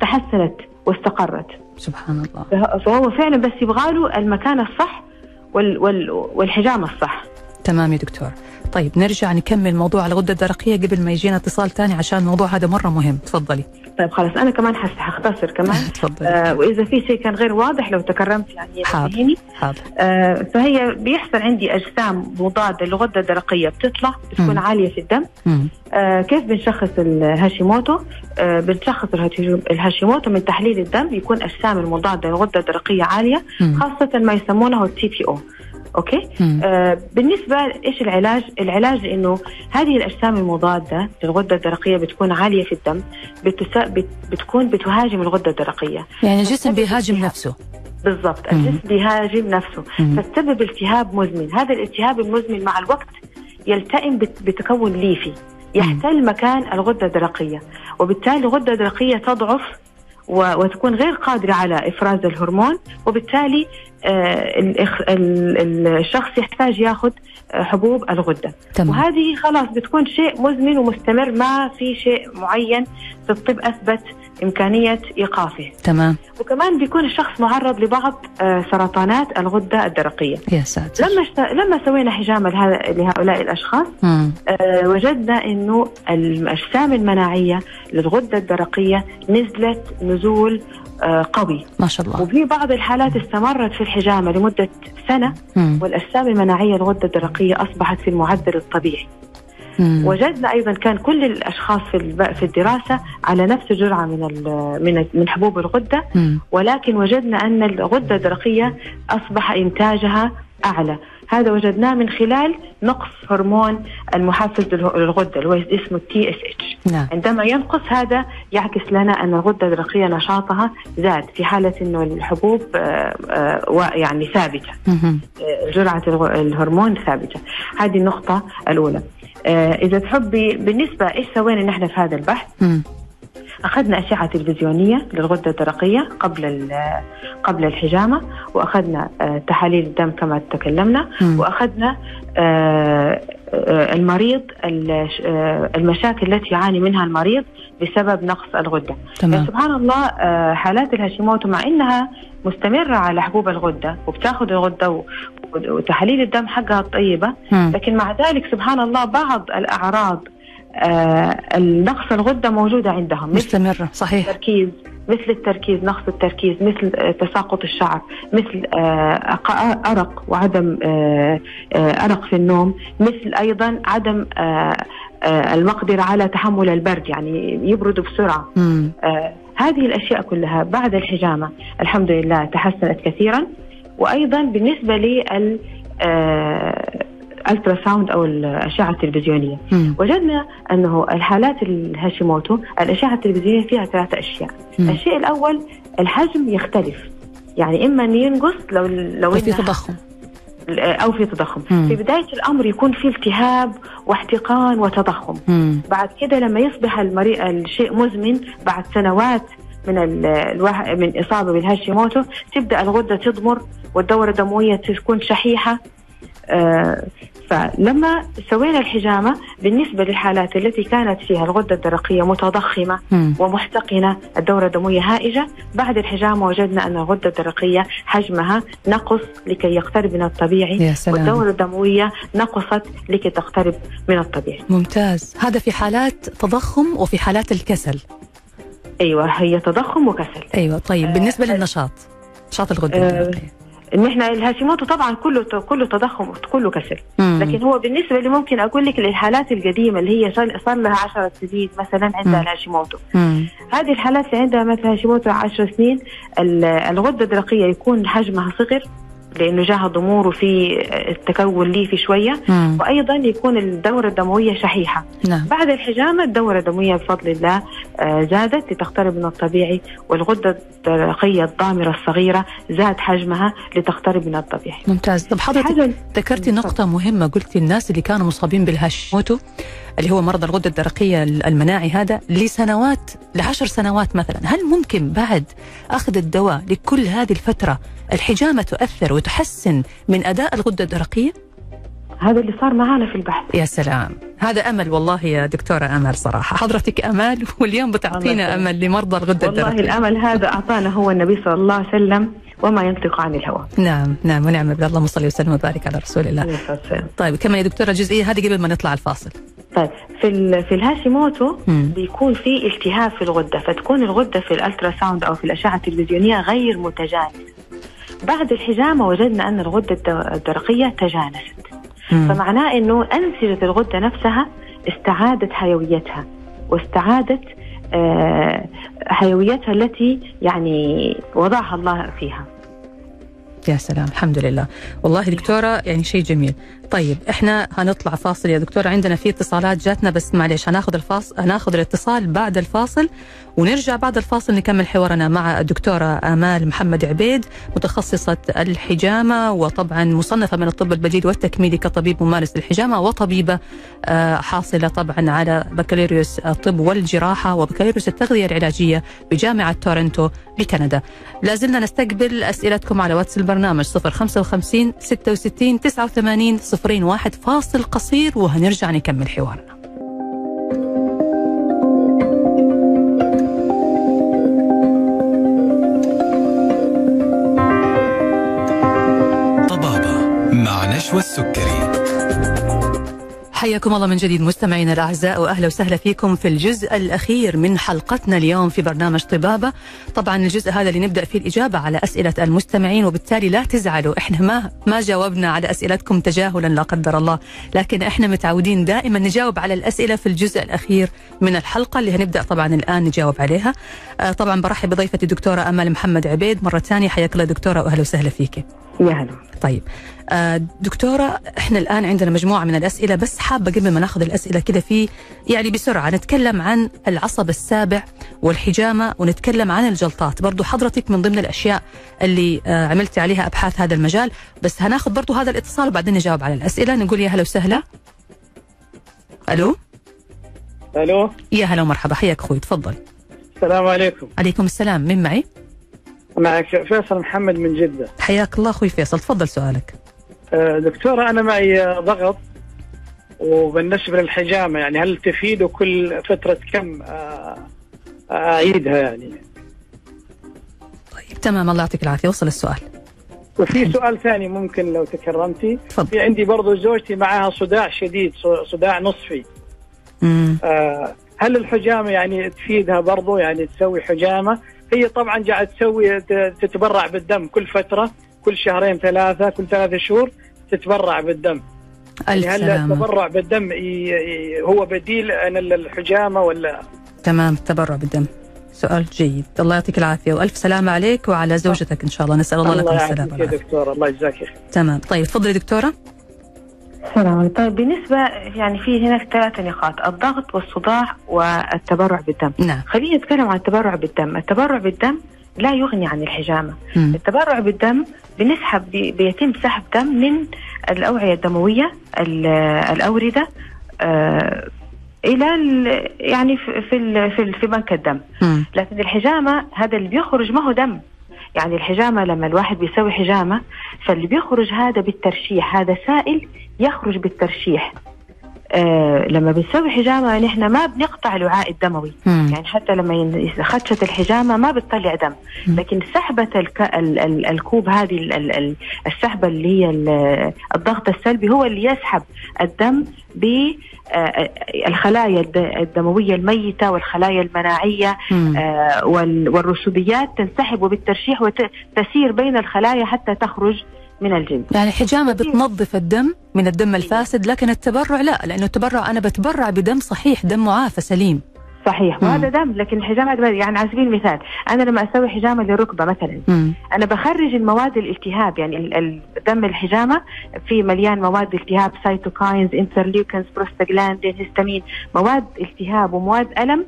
Speaker 3: تحسنت واستقرت
Speaker 2: سبحان الله
Speaker 3: فه- فهو فعلا بس يبغاله المكان الصح وال وال والحجامة الصح
Speaker 2: تمام يا دكتور طيب نرجع نكمل موضوع الغدة الدرقية قبل ما يجينا اتصال ثاني عشان الموضوع هذا مرة مهم تفضلي
Speaker 3: طيب خلاص أنا كمان حس- حختصر كمان
Speaker 2: تفضلي
Speaker 3: آه وإذا في شيء كان غير واضح لو تكرمت يعني
Speaker 2: حاضر.
Speaker 3: نبهيني.
Speaker 2: حاضر
Speaker 3: آه فهي بيحصل عندي أجسام مضادة للغدة الدرقية بتطلع بتكون
Speaker 2: مم.
Speaker 3: عالية في الدم
Speaker 2: مم.
Speaker 3: آه، كيف بنشخص الهاشيموتو؟ آه، بنشخص الهاتيجو- الهاشيموتو من تحليل الدم يكون اجسام المضاده للغده الدرقيه عاليه
Speaker 2: مم.
Speaker 3: خاصه ما يسمونه التي بي او اوكي؟
Speaker 2: مم.
Speaker 3: آه، بالنسبه ايش العلاج؟ العلاج انه هذه الاجسام المضاده للغده الدرقيه بتكون عاليه في الدم بتس... بت... بتكون بتهاجم الغده الدرقيه
Speaker 2: يعني الجسم بيهاجم نفسه
Speaker 3: بالضبط
Speaker 2: مم.
Speaker 3: الجسم بيهاجم نفسه
Speaker 2: مم.
Speaker 3: فتسبب التهاب مزمن هذا الالتهاب المزمن مع الوقت يلتئم بت- بتكون ليفي يحتل مكان الغدة الدرقية وبالتالي الغدة الدرقية تضعف و- وتكون غير قادرة على إفراز الهرمون وبالتالي آه، الإخ- ال- ال- الشخص يحتاج ياخذ آه، حبوب الغدة
Speaker 2: تمام
Speaker 3: وهذه خلاص بتكون شيء مزمن ومستمر ما في شيء معين في الطب أثبت إمكانية إيقافه
Speaker 2: تمام
Speaker 3: وكمان بيكون الشخص معرض لبعض آه، سرطانات الغدة الدرقية
Speaker 2: يا ساتر
Speaker 3: لما شت... لما سوينا حجامة لها... لهؤلاء الأشخاص
Speaker 2: مم.
Speaker 3: آه وجدنا أنه الأجسام المناعية للغدة الدرقية نزلت نزول آه قوي
Speaker 2: ما شاء الله
Speaker 3: وفي بعض الحالات استمرت في الحجامة لمدة سنة
Speaker 2: مم.
Speaker 3: والأجسام المناعية للغدة الدرقية أصبحت في المعدل الطبيعي
Speaker 2: مم.
Speaker 3: وجدنا ايضا كان كل الاشخاص في الب- في الدراسه على نفس الجرعه من ال- من من حبوب الغده
Speaker 2: مم.
Speaker 3: ولكن وجدنا ان الغده الدرقيه اصبح انتاجها اعلى هذا وجدناه من خلال نقص هرمون المحفز للغ- للغده اللي هو اسمه التي اس اتش
Speaker 2: نعم
Speaker 3: عندما ينقص هذا يعكس لنا ان الغده الدرقيه نشاطها زاد في حاله انه الحبوب آه، آه، وا- يعني ثابته
Speaker 2: مهم.
Speaker 3: آه، جرعه الغ- الهرمون ثابته هذه النقطه الاولى آه، اذا تحبي بالنسبه ايش سوينا نحن في هذا البحث
Speaker 2: مم.
Speaker 3: اخذنا اشعه تلفزيونيه للغده الدرقيه قبل ال- قبل الحجامه واخذنا آه، تحاليل الدم كما تكلمنا
Speaker 2: مم.
Speaker 3: واخذنا آه، آه، المريض الش- آه، المشاكل التي يعاني منها المريض بسبب نقص الغده يعني
Speaker 2: تمام
Speaker 3: سبحان الله آه، حالات الهاشيموتو مع انها مستمره على حبوب الغده وبتاخذ الغده و- وتحاليل الدم حقها طيبه
Speaker 2: مم.
Speaker 3: لكن مع ذلك سبحان الله بعض الاعراض آه، نقص الغده موجوده عندهم مثل
Speaker 2: مستمرة صحيح
Speaker 3: التركيز مثل التركيز نقص التركيز مثل آه، تساقط الشعر مثل آه، أق- أرق وعدم آه، آه، أرق في النوم مثل أيضا عدم آه، آه، المقدرة على تحمل البرد يعني يبردوا بسرعة
Speaker 2: مم.
Speaker 3: آه، هذه الاشياء كلها بعد الحجامه الحمد لله تحسنت كثيرا وايضا بالنسبه لل آه، الترا ساوند او الاشعه التلفزيونيه
Speaker 2: مم.
Speaker 3: وجدنا انه الحالات الهاشيموتو الاشعه التلفزيونيه فيها ثلاثه اشياء
Speaker 2: مم.
Speaker 3: الشيء الاول الحجم يختلف يعني اما إن ينقص لو لو
Speaker 2: وفي
Speaker 3: إنها-
Speaker 2: طيب، تضخم
Speaker 3: او في تضخم
Speaker 2: مم.
Speaker 3: في بدايه الامر يكون في التهاب واحتقان وتضخم
Speaker 2: مم.
Speaker 3: بعد كده لما يصبح المريء الشيء مزمن بعد سنوات من ال- الوح... من اصابه بالهاشيموتو تبدا الغده تضمر والدوره الدمويه تكون شحيحه آه، فلما سوينا الحجامه بالنسبه للحالات التي كانت فيها الغده الدرقيه متضخمه
Speaker 2: مم.
Speaker 3: ومحتقنه الدوره الدمويه هائجه بعد الحجامه وجدنا ان الغده الدرقيه حجمها نقص لكي يقترب من الطبيعي
Speaker 2: يا سلام
Speaker 3: والدوره الدمويه نقصت لكي تقترب من الطبيعي
Speaker 2: ممتاز هذا في حالات تضخم وفي حالات الكسل
Speaker 3: ايوه هي تضخم وكسل
Speaker 2: ايوه طيب
Speaker 3: آه،
Speaker 2: بالنسبه
Speaker 3: آه.
Speaker 2: للنشاط نشاط الغده
Speaker 3: آه،
Speaker 2: الدرقيه
Speaker 3: ان احنا الهاشيموتو طبعا كله كله تضخم كله كسل
Speaker 2: مم.
Speaker 3: لكن هو بالنسبه لي ممكن اقول لك للحالات القديمه اللي هي صار صار لها 10 سنين مثلا عندها
Speaker 2: مم.
Speaker 3: الهاشيموتو
Speaker 2: مم.
Speaker 3: هذه الحالات اللي عندها مثلا هاشيموتو 10 سنين ال- الغده الدرقيه يكون حجمها صغر لانه جاها ضمور وفي التكون ليه في شويه
Speaker 2: مم.
Speaker 3: وايضا يكون الدوره الدمويه شحيحه
Speaker 2: نعم
Speaker 3: بعد الحجامة الدورة الدموية بفضل الله آه، زادت لتقترب من الطبيعي والغدة الدرقية الضامرة الصغيرة زاد حجمها لتقترب من الطبيعي
Speaker 2: ممتاز طب حضرتك
Speaker 3: الحاجة
Speaker 2: ذكرتي نقطة مهمة قلتي الناس اللي كانوا مصابين بالهاشيموتو اللي هو مرض الغدة الدرقية المناعي هذا لسنوات لعشر سنوات مثلا هل ممكن بعد أخذ الدواء لكل هذه الفترة الحجامة تؤثر وتحسن من أداء الغدة الدرقية؟
Speaker 3: هذا اللي صار معانا في البحث
Speaker 2: يا سلام هذا أمل والله يا دكتورة أمل صراحة حضرتك أمل واليوم بتعطينا
Speaker 3: الله
Speaker 2: أمل لمرضى الغدة
Speaker 3: والله
Speaker 2: الدرقية
Speaker 3: الأمل هذا أعطانا هو النبي صلى الله عليه وسلم وما ينطق عن الهوى
Speaker 2: نعم نعم ونعم بالله اللهم صل وسلم وبارك على رسول الله
Speaker 3: عليه الصلاة والسلام.
Speaker 2: طيب كمان يا دكتورة الجزئية هذه قبل ما نطلع الفاصل
Speaker 3: طيب في ال- في الهاشيموتو
Speaker 2: مم.
Speaker 3: بيكون في التهاب في الغده فتكون الغده في الالترا ساوند او في الاشعه التلفزيونيه غير متجانسه بعد الحجامه وجدنا ان الغده الد- الدرقيه تجانست
Speaker 2: مم.
Speaker 3: فمعناه انه انسجه الغده نفسها استعادت حيويتها واستعادت آه، حيويتها التي يعني وضعها الله فيها
Speaker 2: يا سلام الحمد لله والله دكتورة يعني شيء جميل طيب احنا هنطلع فاصل يا دكتورة عندنا في اتصالات جاتنا بس معلش هناخذ الفاصل هناخذ الاتصال بعد الفاصل ونرجع بعد الفاصل نكمل حوارنا مع الدكتورة آمال محمد عبيد متخصصة الحجامة وطبعا مصنفة من الطب البديل والتكميلي كطبيب ممارس للحجامة وطبيبة آه، حاصلة طبعا على بكالوريوس الطب والجراحة وبكالوريوس التغذية العلاجية بجامعة تورنتو بكندا لا زلنا نستقبل أسئلتكم على واتس البرنامج 055 66 89 01 فاصل قصير وهنرجع نكمل حوارنا
Speaker 1: طبابة مع نشوى السكري
Speaker 2: حياكم الله من جديد مستمعينا الاعزاء واهلا وسهلا فيكم في الجزء الاخير من حلقتنا اليوم في برنامج طبابه، طبعا الجزء هذا اللي نبدا فيه الاجابه على اسئله المستمعين وبالتالي لا تزعلوا احنا ما ما جاوبنا على اسئلتكم تجاهلا لا قدر الله، لكن احنا متعودين دائما نجاوب على الاسئله في الجزء الاخير من الحلقه اللي هنبدا طبعا الان نجاوب عليها. آه، طبعا برحب بضيفتي الدكتوره امل محمد عبيد مره ثانيه حياك الله دكتوره واهلا وسهلا فيك.
Speaker 3: يا هلا
Speaker 2: طيب آه، دكتورة احنا الآن عندنا مجموعة من الأسئلة بس حابة قبل ما ناخذ الأسئلة كذا في يعني بسرعة نتكلم عن العصب السابع والحجامة ونتكلم عن الجلطات برضو حضرتك من ضمن الأشياء اللي آه، عملتي عليها أبحاث هذا المجال بس هناخذ برضو هذا الاتصال وبعدين نجاوب على الأسئلة نقول يا هلا وسهلا ألو
Speaker 6: الو
Speaker 2: يا هلا ومرحبا حياك أخوي تفضل
Speaker 6: السلام عليكم
Speaker 2: عليكم السلام من معي
Speaker 6: معك فيصل محمد من جده
Speaker 2: حياك الله أخوي فيصل تفضل سؤالك
Speaker 6: آه، دكتورة أنا معي آه، ضغط وبالنسبة للحجامة يعني هل تفيد وكل فترة كم آه، أعيدها يعني
Speaker 2: طيب تمام الله يعطيك العافية وصل السؤال
Speaker 6: وفي سؤال ثاني ممكن لو تكرمتي
Speaker 2: تفضل
Speaker 6: في عندي برضو زوجتي معها صداع شديد ص- صداع نصفي
Speaker 2: مم.
Speaker 6: آه، هل الحجامة يعني تفيدها برضو يعني تسوي حجامة هي طبعا قاعدة تسوي ت- تتبرع بالدم كل فترة كل شهرين ثلاثة كل ثلاثة شهور تتبرع بالدم
Speaker 2: ألف
Speaker 6: يعني هل
Speaker 2: سلامة
Speaker 6: التبرع بالدم ي- ي- هو بديل عن ال- الحجامه ولا
Speaker 2: تمام التبرع بالدم سؤال جيد الله يعطيك العافية وألف سلامة عليك وعلى زوجتك إن شاء الله نسأل الله لكم السلامة
Speaker 6: يعافيك يا
Speaker 2: والعافية
Speaker 6: دكتور الله يجزاك خير
Speaker 2: تمام طيب تفضلي دكتورة
Speaker 3: السلام عليكم طيب بالنسبة يعني في هناك ثلاث نقاط الضغط والصداع والتبرع بالدم
Speaker 2: نعم
Speaker 3: خلينا نتكلم عن التبرع بالدم التبرع بالدم لا يغني عن الحجامة
Speaker 2: مم.
Speaker 3: التبرع بالدم بنسحب بي- بيتم سحب دم من الأوعية الدموية ال- الأوردة آه، إلى ال- يعني في في ال- في, ال- في بنك الدم
Speaker 2: مم.
Speaker 3: لكن الحجامة هذا اللي بيخرج ما هو دم يعني الحجامة لما الواحد بيسوي حجامة فاللي بيخرج هذا بالترشيح هذا سائل يخرج بالترشيح آه لما بنسوي حجامة نحن ما بنقطع الوعاء الدموي
Speaker 2: مم.
Speaker 3: يعني حتى لما ين- خدشت الحجامة ما بتطلع دم
Speaker 2: مم.
Speaker 3: لكن سحبة الك... ال... ال... الكوب هذه ال... ال... ال- السحبة اللي هي ال... الضغط السلبي هو اللي يسحب الدم بالخلايا الد... الدموية الميتة والخلايا المناعية
Speaker 2: مم.
Speaker 3: آه، وال- والرسوبيات تنسحب بالترشيح وتسير بين الخلايا حتى تخرج من الجلد
Speaker 2: يعني الحجامة بتنظف الدم من الدم الفاسد لكن التبرع لا لأنه التبرع أنا بتبرع بدم صحيح دم معافى سليم
Speaker 3: صحيح
Speaker 2: مم.
Speaker 3: وهذا دم لكن الحجامات يعني على سبيل المثال انا لما اسوي حجامه للركبه مثلا
Speaker 2: مم.
Speaker 3: انا بخرج المواد الالتهاب يعني ال- ال- دم الحجامه في مليان مواد التهاب سيتوكاينز انترليوكنز بروستاجلاندين هيستامين مواد التهاب ومواد الم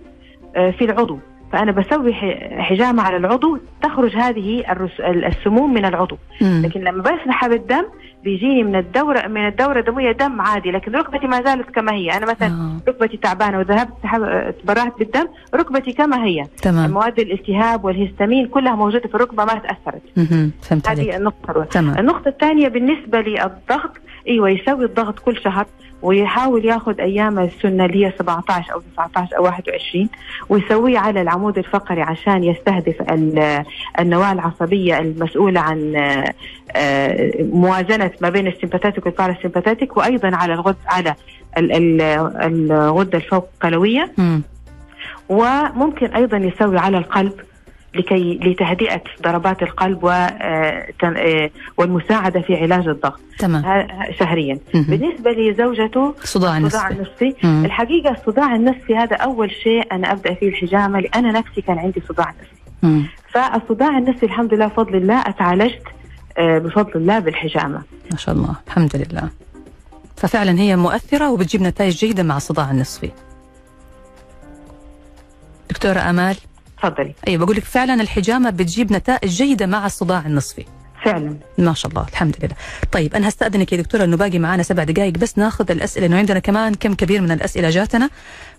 Speaker 3: آه، في العضو فانا بسوي ح- حجامه على العضو تخرج هذه الرس- ال- السموم من العضو
Speaker 2: مم.
Speaker 3: لكن لما بسحب الدم بيجيني من الدوره من الدوره الدمويه دم عادي لكن ركبتي ما زالت كما هي انا مثلا
Speaker 2: آه.
Speaker 3: ركبتي تعبانه وذهبت سحب- تبرعت بالدم ركبتي كما هي
Speaker 2: تمام
Speaker 3: مواد الالتهاب والهستامين كلها موجوده في الركبه ما تاثرت
Speaker 2: مم. فهمت عليك
Speaker 3: هذه النقطه الأولى.
Speaker 2: تمام
Speaker 3: النقطه الثانيه بالنسبه للضغط ايوه يسوي الضغط كل شهر ويحاول ياخذ ايام السنه اللي هي 17 او 19 او 21 ويسويه على العمود الفقري عشان يستهدف ال- النواه العصبيه المسؤوله عن آه، آه، موازنه ما بين السمباتيك والباراسمباتيك وايضا على الغد على ال- ال- الغده الفوقلويه
Speaker 2: مم.
Speaker 3: وممكن ايضا يسوي على القلب لكي لتهدئه ضربات القلب و آه، تن- آه، والمساعده في علاج الضغط
Speaker 2: تمام
Speaker 3: ه- شهريا
Speaker 2: مم.
Speaker 3: بالنسبه لزوجته
Speaker 2: صداع
Speaker 3: الصداع
Speaker 2: نفسي
Speaker 3: النفسي
Speaker 2: مم.
Speaker 3: الحقيقه الصداع النفسي هذا اول شيء انا ابدا فيه الحجامه لان نفسي كان عندي صداع نفسي
Speaker 2: مم.
Speaker 3: فالصداع النفسي الحمد لله بفضل الله اتعالجت آه، بفضل الله بالحجامه
Speaker 2: ما شاء الله الحمد لله ففعلا هي مؤثرة وبتجيب نتائج جيدة مع الصداع النصفي دكتورة أمال
Speaker 3: تفضلي
Speaker 2: أيوة بقول لك فعلا الحجامة بتجيب نتائج جيدة مع الصداع النصفي
Speaker 3: فعلا
Speaker 2: ما شاء الله الحمد لله طيب أنا هستأذنك يا دكتورة أنه باقي معنا سبع دقائق بس ناخذ الأسئلة أنه عندنا كمان كم كبير من الأسئلة جاتنا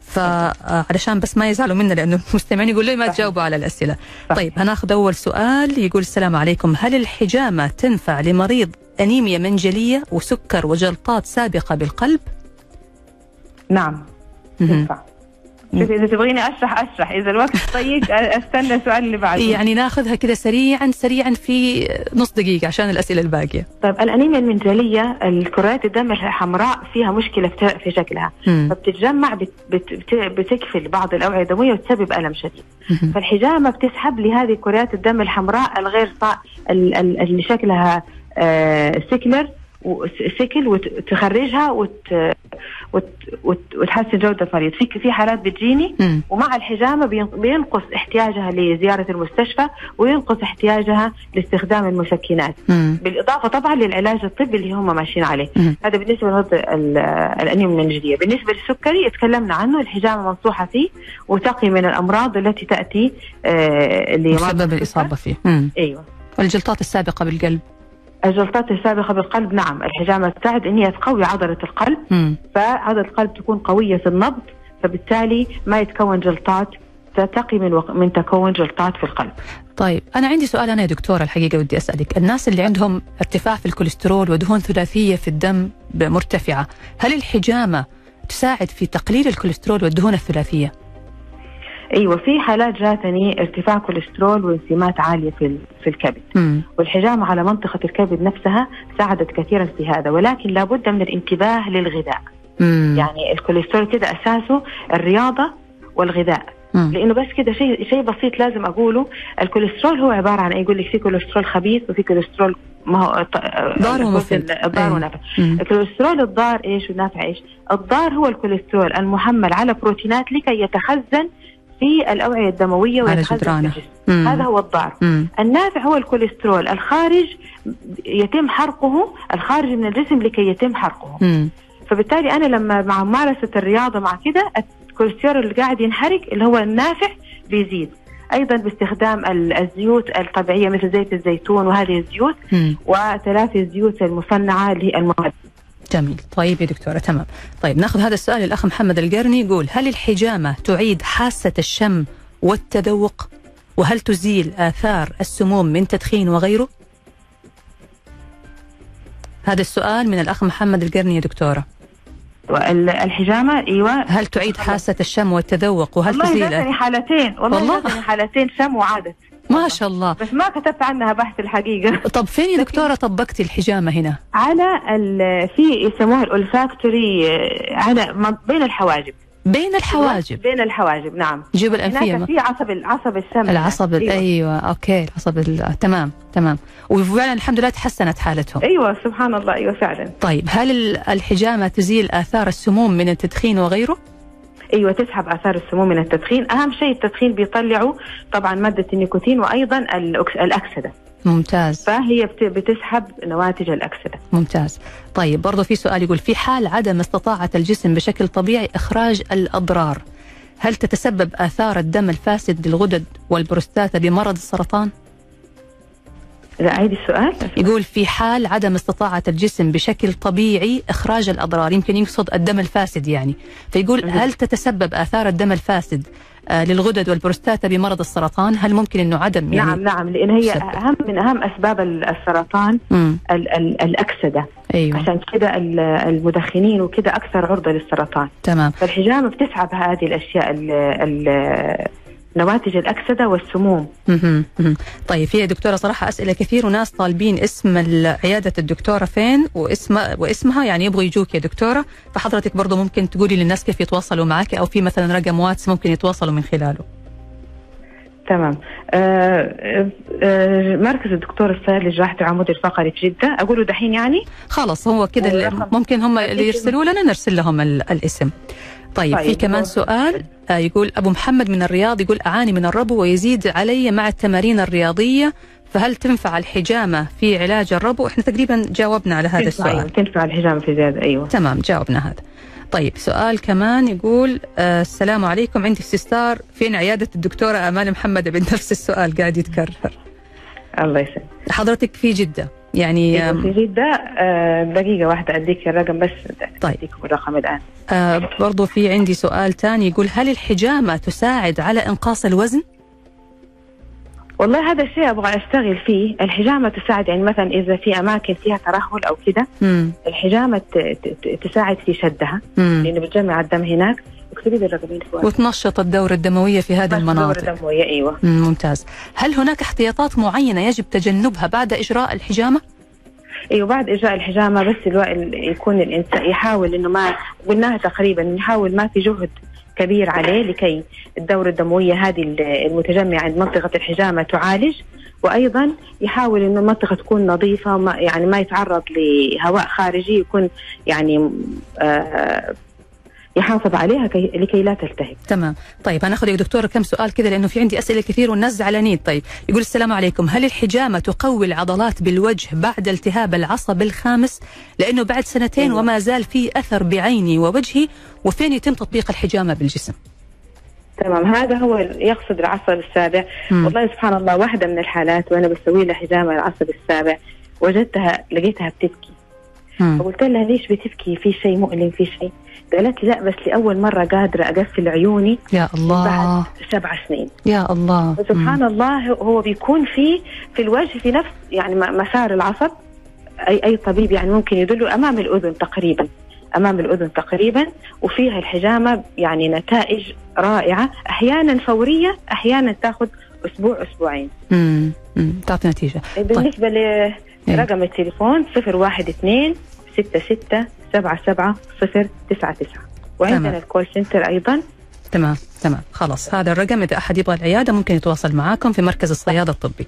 Speaker 2: فعلشان بس ما يزعلوا منا لأنه المستمعين يقول لي ما
Speaker 3: صحيح.
Speaker 2: تجاوبوا على الأسئلة طيب هناخذ أول سؤال يقول السلام عليكم هل الحجامة تنفع لمريض أنيميا منجلية وسكر وجلطات سابقة بالقلب؟
Speaker 3: نعم
Speaker 2: مهم.
Speaker 3: تنفع شوفي اذا تبغيني اشرح اشرح اذا الوقت ضيق استنى السؤال اللي بعده
Speaker 2: يعني ناخذها كذا سريعا سريعا في نص دقيقه عشان الاسئله الباقيه
Speaker 3: طيب الانيميا المنجليه الكريات الدم الحمراء فيها مشكله في في شكلها
Speaker 2: مم.
Speaker 3: فبتتجمع بت بت بت بتكفل بعض الاوعيه الدمويه وتسبب الم شديد
Speaker 2: مم.
Speaker 3: فالحجامه بتسحب لهذه كريات الدم الحمراء الغير صا... ال- ال- اللي شكلها آه، سكلر و- س- سكل وتخرجها وت... وت... وت... وتحسن جوده المريض في في حالات بتجيني
Speaker 2: مم.
Speaker 3: ومع الحجامه بين- بينقص احتياجها لزياره المستشفى وينقص احتياجها لاستخدام المسكنات
Speaker 2: مم.
Speaker 3: بالاضافه طبعا للعلاج الطبي اللي هم ماشيين عليه
Speaker 2: مم.
Speaker 3: هذا بالنسبه لمرض ال- الانيميا المنجليه بالنسبه للسكري تكلمنا عنه الحجامه منصوحه فيه وتقي من الامراض التي تاتي آه، لمرضى
Speaker 2: مسبب
Speaker 3: السكر.
Speaker 2: الاصابه فيه مم.
Speaker 3: ايوه
Speaker 2: والجلطات السابقه بالقلب
Speaker 3: الجلطات السابقه بالقلب نعم الحجامه تساعد ان هي تقوي عضله القلب
Speaker 2: مم.
Speaker 3: فعضله القلب تكون قويه في النبض فبالتالي ما يتكون جلطات تتقي من وق- من تكون جلطات في القلب
Speaker 2: طيب انا عندي سؤال انا يا دكتوره الحقيقه ودي اسالك الناس اللي عندهم ارتفاع في الكوليسترول ودهون ثلاثيه في الدم ب- مرتفعه هل الحجامه تساعد في تقليل الكوليسترول والدهون الثلاثيه
Speaker 3: ايوه في حالات جاتني ارتفاع كوليسترول وانسيمات عاليه في ال- في الكبد
Speaker 2: مم.
Speaker 3: والحجامة على منطقة الكبد نفسها ساعدت كثيرا في هذا ولكن لابد من الانتباه للغذاء
Speaker 2: مم.
Speaker 3: يعني الكوليسترول كده أساسه الرياضة والغذاء
Speaker 2: مم.
Speaker 3: لانه بس كده شيء شيء بسيط لازم اقوله الكوليسترول هو عباره عن إيه؟ يقول لك في كوليسترول خبيث وفي كوليسترول ما هو يعني
Speaker 2: ضار ومفيد.
Speaker 3: ضار
Speaker 2: أيوة.
Speaker 3: ونافع
Speaker 2: مم.
Speaker 3: الكوليسترول الضار ايش والنافع ايش؟ الضار هو الكوليسترول المحمل على بروتينات لكي يتخزن في الاوعيه الدمويه
Speaker 2: على
Speaker 3: ويتخزن في
Speaker 2: جدرانه.
Speaker 3: الجسم.
Speaker 2: مم.
Speaker 3: هذا هو الضار
Speaker 2: مم.
Speaker 3: النافع هو الكوليسترول الخارج يتم حرقه الخارج من الجسم لكي يتم حرقه
Speaker 2: مم.
Speaker 3: فبالتالي انا لما مع ممارسه الرياضه مع كده الكوليسترول اللي قاعد ينحرق اللي هو النافع بيزيد ايضا باستخدام ال- الزيوت الطبيعيه مثل زيت الزيتون وهذه الزيوت
Speaker 2: مم.
Speaker 3: وتلافي الزيوت المصنعه للمواد
Speaker 2: جميل طيب يا دكتورة تمام طيب ناخذ هذا السؤال الأخ محمد القرني يقول هل الحجامة تعيد حاسة الشم والتذوق وهل تزيل آثار السموم من تدخين وغيره هذا السؤال من الأخ محمد القرني يا دكتورة
Speaker 3: وال- الحجامه ايوه
Speaker 2: هل تعيد حاسة الشم والتذوق وهل
Speaker 3: والله
Speaker 2: تزيل آثار-
Speaker 3: جاتني حالتين
Speaker 2: والله.
Speaker 3: والله, والله جاتني حالتين شم وعادت
Speaker 2: ما شاء الله
Speaker 3: بس ما كتبت عنها بحث الحقيقه
Speaker 2: طب فين يا دكتورة طبقتي الحجامة هنا
Speaker 3: على ال- في يسموها الولفاكتوري آه، على ما بين الحواجب
Speaker 2: بين الحواجب
Speaker 3: بين الحواجب نعم
Speaker 2: جيب الأنفية
Speaker 3: هناك
Speaker 2: ما.
Speaker 3: في عصب العصب السمع
Speaker 2: العصب أيوة. أيوة أوكي العصب ال- تمام تمام وفعلا الحمد لله تحسنت حالتهم
Speaker 3: ايوه سبحان الله ايوه فعلا
Speaker 2: طيب هل ال- الحجامة تزيل آثار السموم من التدخين وغيره؟
Speaker 3: ايوه تسحب اثار السموم من التدخين اهم شيء التدخين بيطلعوا طبعا ماده النيكوتين وايضا الأكس- الاكسده
Speaker 2: ممتاز
Speaker 3: فهي بت- بتسحب نواتج الاكسده
Speaker 2: ممتاز طيب برضو في سؤال يقول في حال عدم استطاعة الجسم بشكل طبيعي إخراج الأضرار هل تتسبب آثار الدم الفاسد للغدد والبروستاتا بمرض السرطان؟
Speaker 3: لا عيد السؤال
Speaker 2: يقول في حال عدم استطاعة الجسم بشكل طبيعي إخراج الأضرار يمكن يقصد الدم الفاسد يعني فيقول هل تتسبب آثار الدم الفاسد آه، للغدد والبروستاتا بمرض السرطان هل ممكن أنه عدم يعني
Speaker 3: نعم نعم لان هي
Speaker 2: سبب.
Speaker 3: اهم من اهم اسباب ال- السرطان
Speaker 2: مم.
Speaker 3: ال- ال- الاكسده
Speaker 2: أيوه
Speaker 3: عشان كده ال- المدخنين وكده اكثر عرضه للسرطان
Speaker 2: تمام
Speaker 3: فالحجامه بتسحب هذه الاشياء ال- ال- نواتج الاكسده والسموم
Speaker 2: مهم. مهم. طيب في يا دكتوره صراحه اسئله كثير وناس طالبين اسم ال- عياده الدكتوره فين واسم واسمها يعني يبغوا يجوك يا دكتوره فحضرتك برضو ممكن تقولي للناس كيف يتواصلوا معك او في مثلا رقم واتس ممكن يتواصلوا من خلاله
Speaker 3: تمام آه، آه، مركز الدكتور السهل لجراحة العمود الفقري في جدة أقوله دحين يعني
Speaker 2: خلاص هو كده ال-
Speaker 3: والرقم.
Speaker 2: ممكن هم اللي يرسلوا لنا نرسل لهم ال- الاسم طيب في
Speaker 3: طيب.
Speaker 2: كمان سؤال آه، يقول ابو محمد من الرياض يقول اعاني من الربو ويزيد علي مع التمارين الرياضيه فهل تنفع الحجامه في علاج الربو؟ احنا تقريبا جاوبنا على هذا
Speaker 3: تنفع
Speaker 2: السؤال
Speaker 3: أيوة. تنفع الحجامة في زيادة أيوة
Speaker 2: تمام جاوبنا هذا طيب سؤال كمان يقول آه السلام عليكم عندي استفسار فين عيادة الدكتورة آمال محمد بن نفس السؤال قاعد يتكرر
Speaker 3: الله يسلمك حضرتك
Speaker 2: في جدة يعني
Speaker 3: في
Speaker 2: آم،
Speaker 3: جدة آه، دقيقة واحدة أديك الرقم بس
Speaker 2: طيب.
Speaker 3: أديكم الرقم الآن
Speaker 2: آه برضو في عندي سؤال تاني يقول هل الحجامة تساعد على إنقاص الوزن؟
Speaker 3: والله هذا الشيء أبغى أشتغل فيه الحجامة تساعد يعني مثلا إذا في أماكن فيها ترهل أو كده
Speaker 2: مم.
Speaker 3: الحجامة ت- ت- ت- تساعد في شدها
Speaker 2: مم.
Speaker 3: لأنه بتجمع الدم هناك اكتبي لي الرقم اللي هو
Speaker 2: وتنشط الدورة الدموية في هذه المناطق
Speaker 3: دورة دموية ايوه
Speaker 2: مم، ممتاز هل هناك احتياطات معينة يجب تجنبها بعد إجراء الحجامة؟
Speaker 3: ايوه بعد اجراء الحجامه بس الو... ال- يكون الانسان يحاول انه ما قلناها تقريبا نحاول ما في جهد كبير عليه لكي الدوره الدمويه هذه ال- المتجمعه عند منطقه الحجامه تعالج وايضا يحاول انه المنطقه تكون نظيفه وما يعني ما يتعرض لهواء خارجي يكون يعني آه يحافظ عليها كي... لكي لا تلتهب
Speaker 2: تمام طيب أنا أخذ يا دكتورة كم سؤال كذا لأنه في عندي أسئلة كثير والناس زعلانين طيب يقول السلام عليكم هل الحجامة تقوي العضلات بالوجه بعد التهاب العصب الخامس لأنه بعد سنتين
Speaker 3: أيوة.
Speaker 2: وما زال في أثر بعيني ووجهي وفين يتم تطبيق الحجامة بالجسم
Speaker 3: تمام هذا هو يقصد العصب السابع
Speaker 2: مم.
Speaker 3: والله سبحان الله واحدة من الحالات وأنا بسوي لها حجامة العصب السابع وجدتها لقيتها بتبكي
Speaker 2: مم.
Speaker 3: فقلت لها ليش بتبكي في شيء مؤلم في شيء قالت لي لا بس لأول مرة قادرة أقفل عيوني
Speaker 2: يا الله
Speaker 3: بعد سبع سنين
Speaker 2: يا الله مم.
Speaker 3: فسبحان الله هو بيكون في في الوجه في نفس يعني م- مسار العصب أي أي طبيب يعني ممكن يدله أمام الأذن تقريبا أمام الأذن تقريبا وفيها الحجامة يعني نتائج رائعة أحيانا فورية أحيانا تاخذ أسبوع أسبوعين
Speaker 2: مم. مم. تعطي نتيجة
Speaker 3: بالنسبة
Speaker 2: طيب. إيه.
Speaker 3: لرقم التليفون 012 66 77 099
Speaker 2: تمام.
Speaker 3: وعندنا الكول سنتر أيضا
Speaker 2: تمام تمام خلاص هذا الرقم اذا احد يبغى العياده ممكن يتواصل معاكم في مركز الصياده الطبي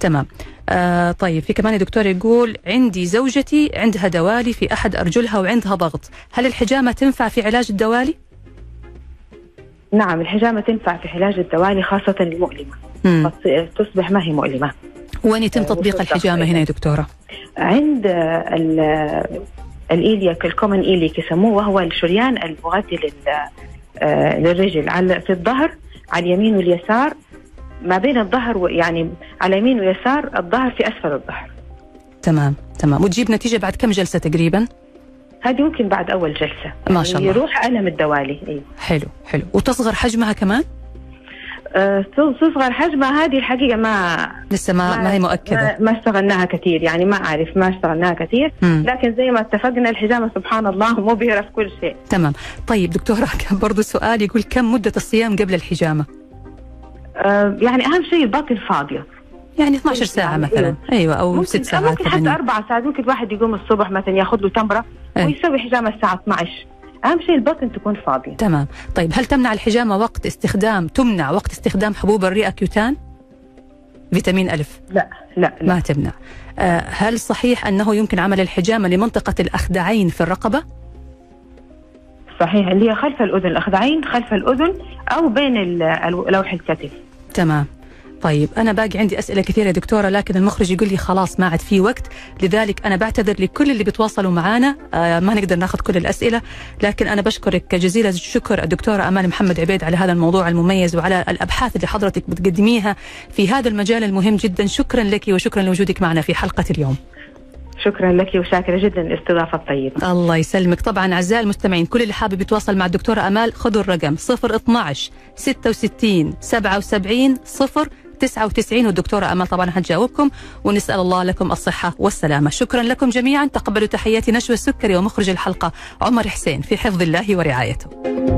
Speaker 2: تمام آه طيب في كمان يا دكتور يقول عندي زوجتي عندها دوالي في احد ارجلها وعندها ضغط هل الحجامه تنفع في علاج الدوالي
Speaker 3: نعم الحجامة تنفع في علاج الدوالي خاصة المؤلمة
Speaker 2: مم.
Speaker 3: فتص- تصبح ما هي مؤلمة
Speaker 2: وين يتم تطبيق
Speaker 3: وصل
Speaker 2: الحجامه
Speaker 3: تقريباً.
Speaker 2: هنا يا دكتوره
Speaker 3: عند آه، ال- آه، الإيلياك الكومن إيليك يسموه وهو الشريان المغذي لل- آه، للرجل على في الظهر على اليمين واليسار ما بين الظهر و- يعني على اليمين ويسار الظهر في أسفل الظهر
Speaker 2: تمام تمام وتجيب نتيجه بعد كم جلسه تقريبا
Speaker 3: هذه ممكن بعد أول جلسة
Speaker 2: ما شاء الله.
Speaker 3: يروح ألم الدوالي أيوة.
Speaker 2: حلو حلو وتصغر حجمها كمان
Speaker 3: آه، تصغر حجمها هذه الحقيقة ما
Speaker 2: لسه ما ما هي مؤكده
Speaker 3: ما, ما اشتغلناها كثير يعني ما أعرف ما اشتغلناها كثير
Speaker 2: مم.
Speaker 3: لكن زي ما اتفقنا الحجامة سبحان الله مبهرة في كل شيء
Speaker 2: تمام طيب دكتوره كان برضو سؤال يقول كم مده الصيام قبل الحجامه
Speaker 3: آه، يعني أهم شيء البطن فاضية
Speaker 2: يعني 12 ساعه
Speaker 3: يعني
Speaker 2: مثلا ايوه او
Speaker 3: ممكن,
Speaker 2: 6 ساعات
Speaker 3: ممكن حتى
Speaker 2: ثمانية.
Speaker 3: اربع ساعات ممكن الواحد يقوم الصبح مثلا ياخذ له تمره
Speaker 2: إيه.
Speaker 3: ويسوي حجامه الساعه 12 اهم شيء البطن تكون فاضيه
Speaker 2: تمام طيب هل تمنع الحجامة وقت استخدام تمنع وقت استخدام حبوب الرئة كيوتان فيتامين ألف
Speaker 3: لا لا, لا.
Speaker 2: ما تمنع آه، هل صحيح أنه يمكن عمل الحجامة لمنطقة الأخدعين في الرقبة
Speaker 3: صحيح اللي هي خلف الاذن الاخدعين خلف الاذن او بين ال- ال- لوح الكتف
Speaker 2: تمام طيب أنا باقي عندي أسئلة كثيرة يا دكتورة لكن المخرج يقول لي خلاص ما عاد في وقت لذلك أنا بعتذر لكل اللي بيتواصلوا معنا آه، ما نقدر ناخذ كل الأسئلة لكن أنا بشكرك جزيل الشكر الدكتورة أمال محمد عبيد على هذا الموضوع المميز وعلى الأبحاث اللي حضرتك بتقدميها في هذا المجال المهم جدا شكرا لك وشكرا لوجودك معنا في حلقة اليوم
Speaker 3: شكرا لك وشاكره جدا الاستضافه الطيبه
Speaker 2: الله يسلمك طبعا أعزائي المستمعين كل اللي حابب يتواصل مع الدكتورة أمال خذوا الرقم 012 66 77 0 99 والدكتورة أمال طبعا هتجاوبكم ونسأل الله لكم الصحة والسلامة شكرا لكم جميعا تقبلوا تحياتي نشوى السكري ومخرج الحلقة عمر حسين في حفظ الله ورعايته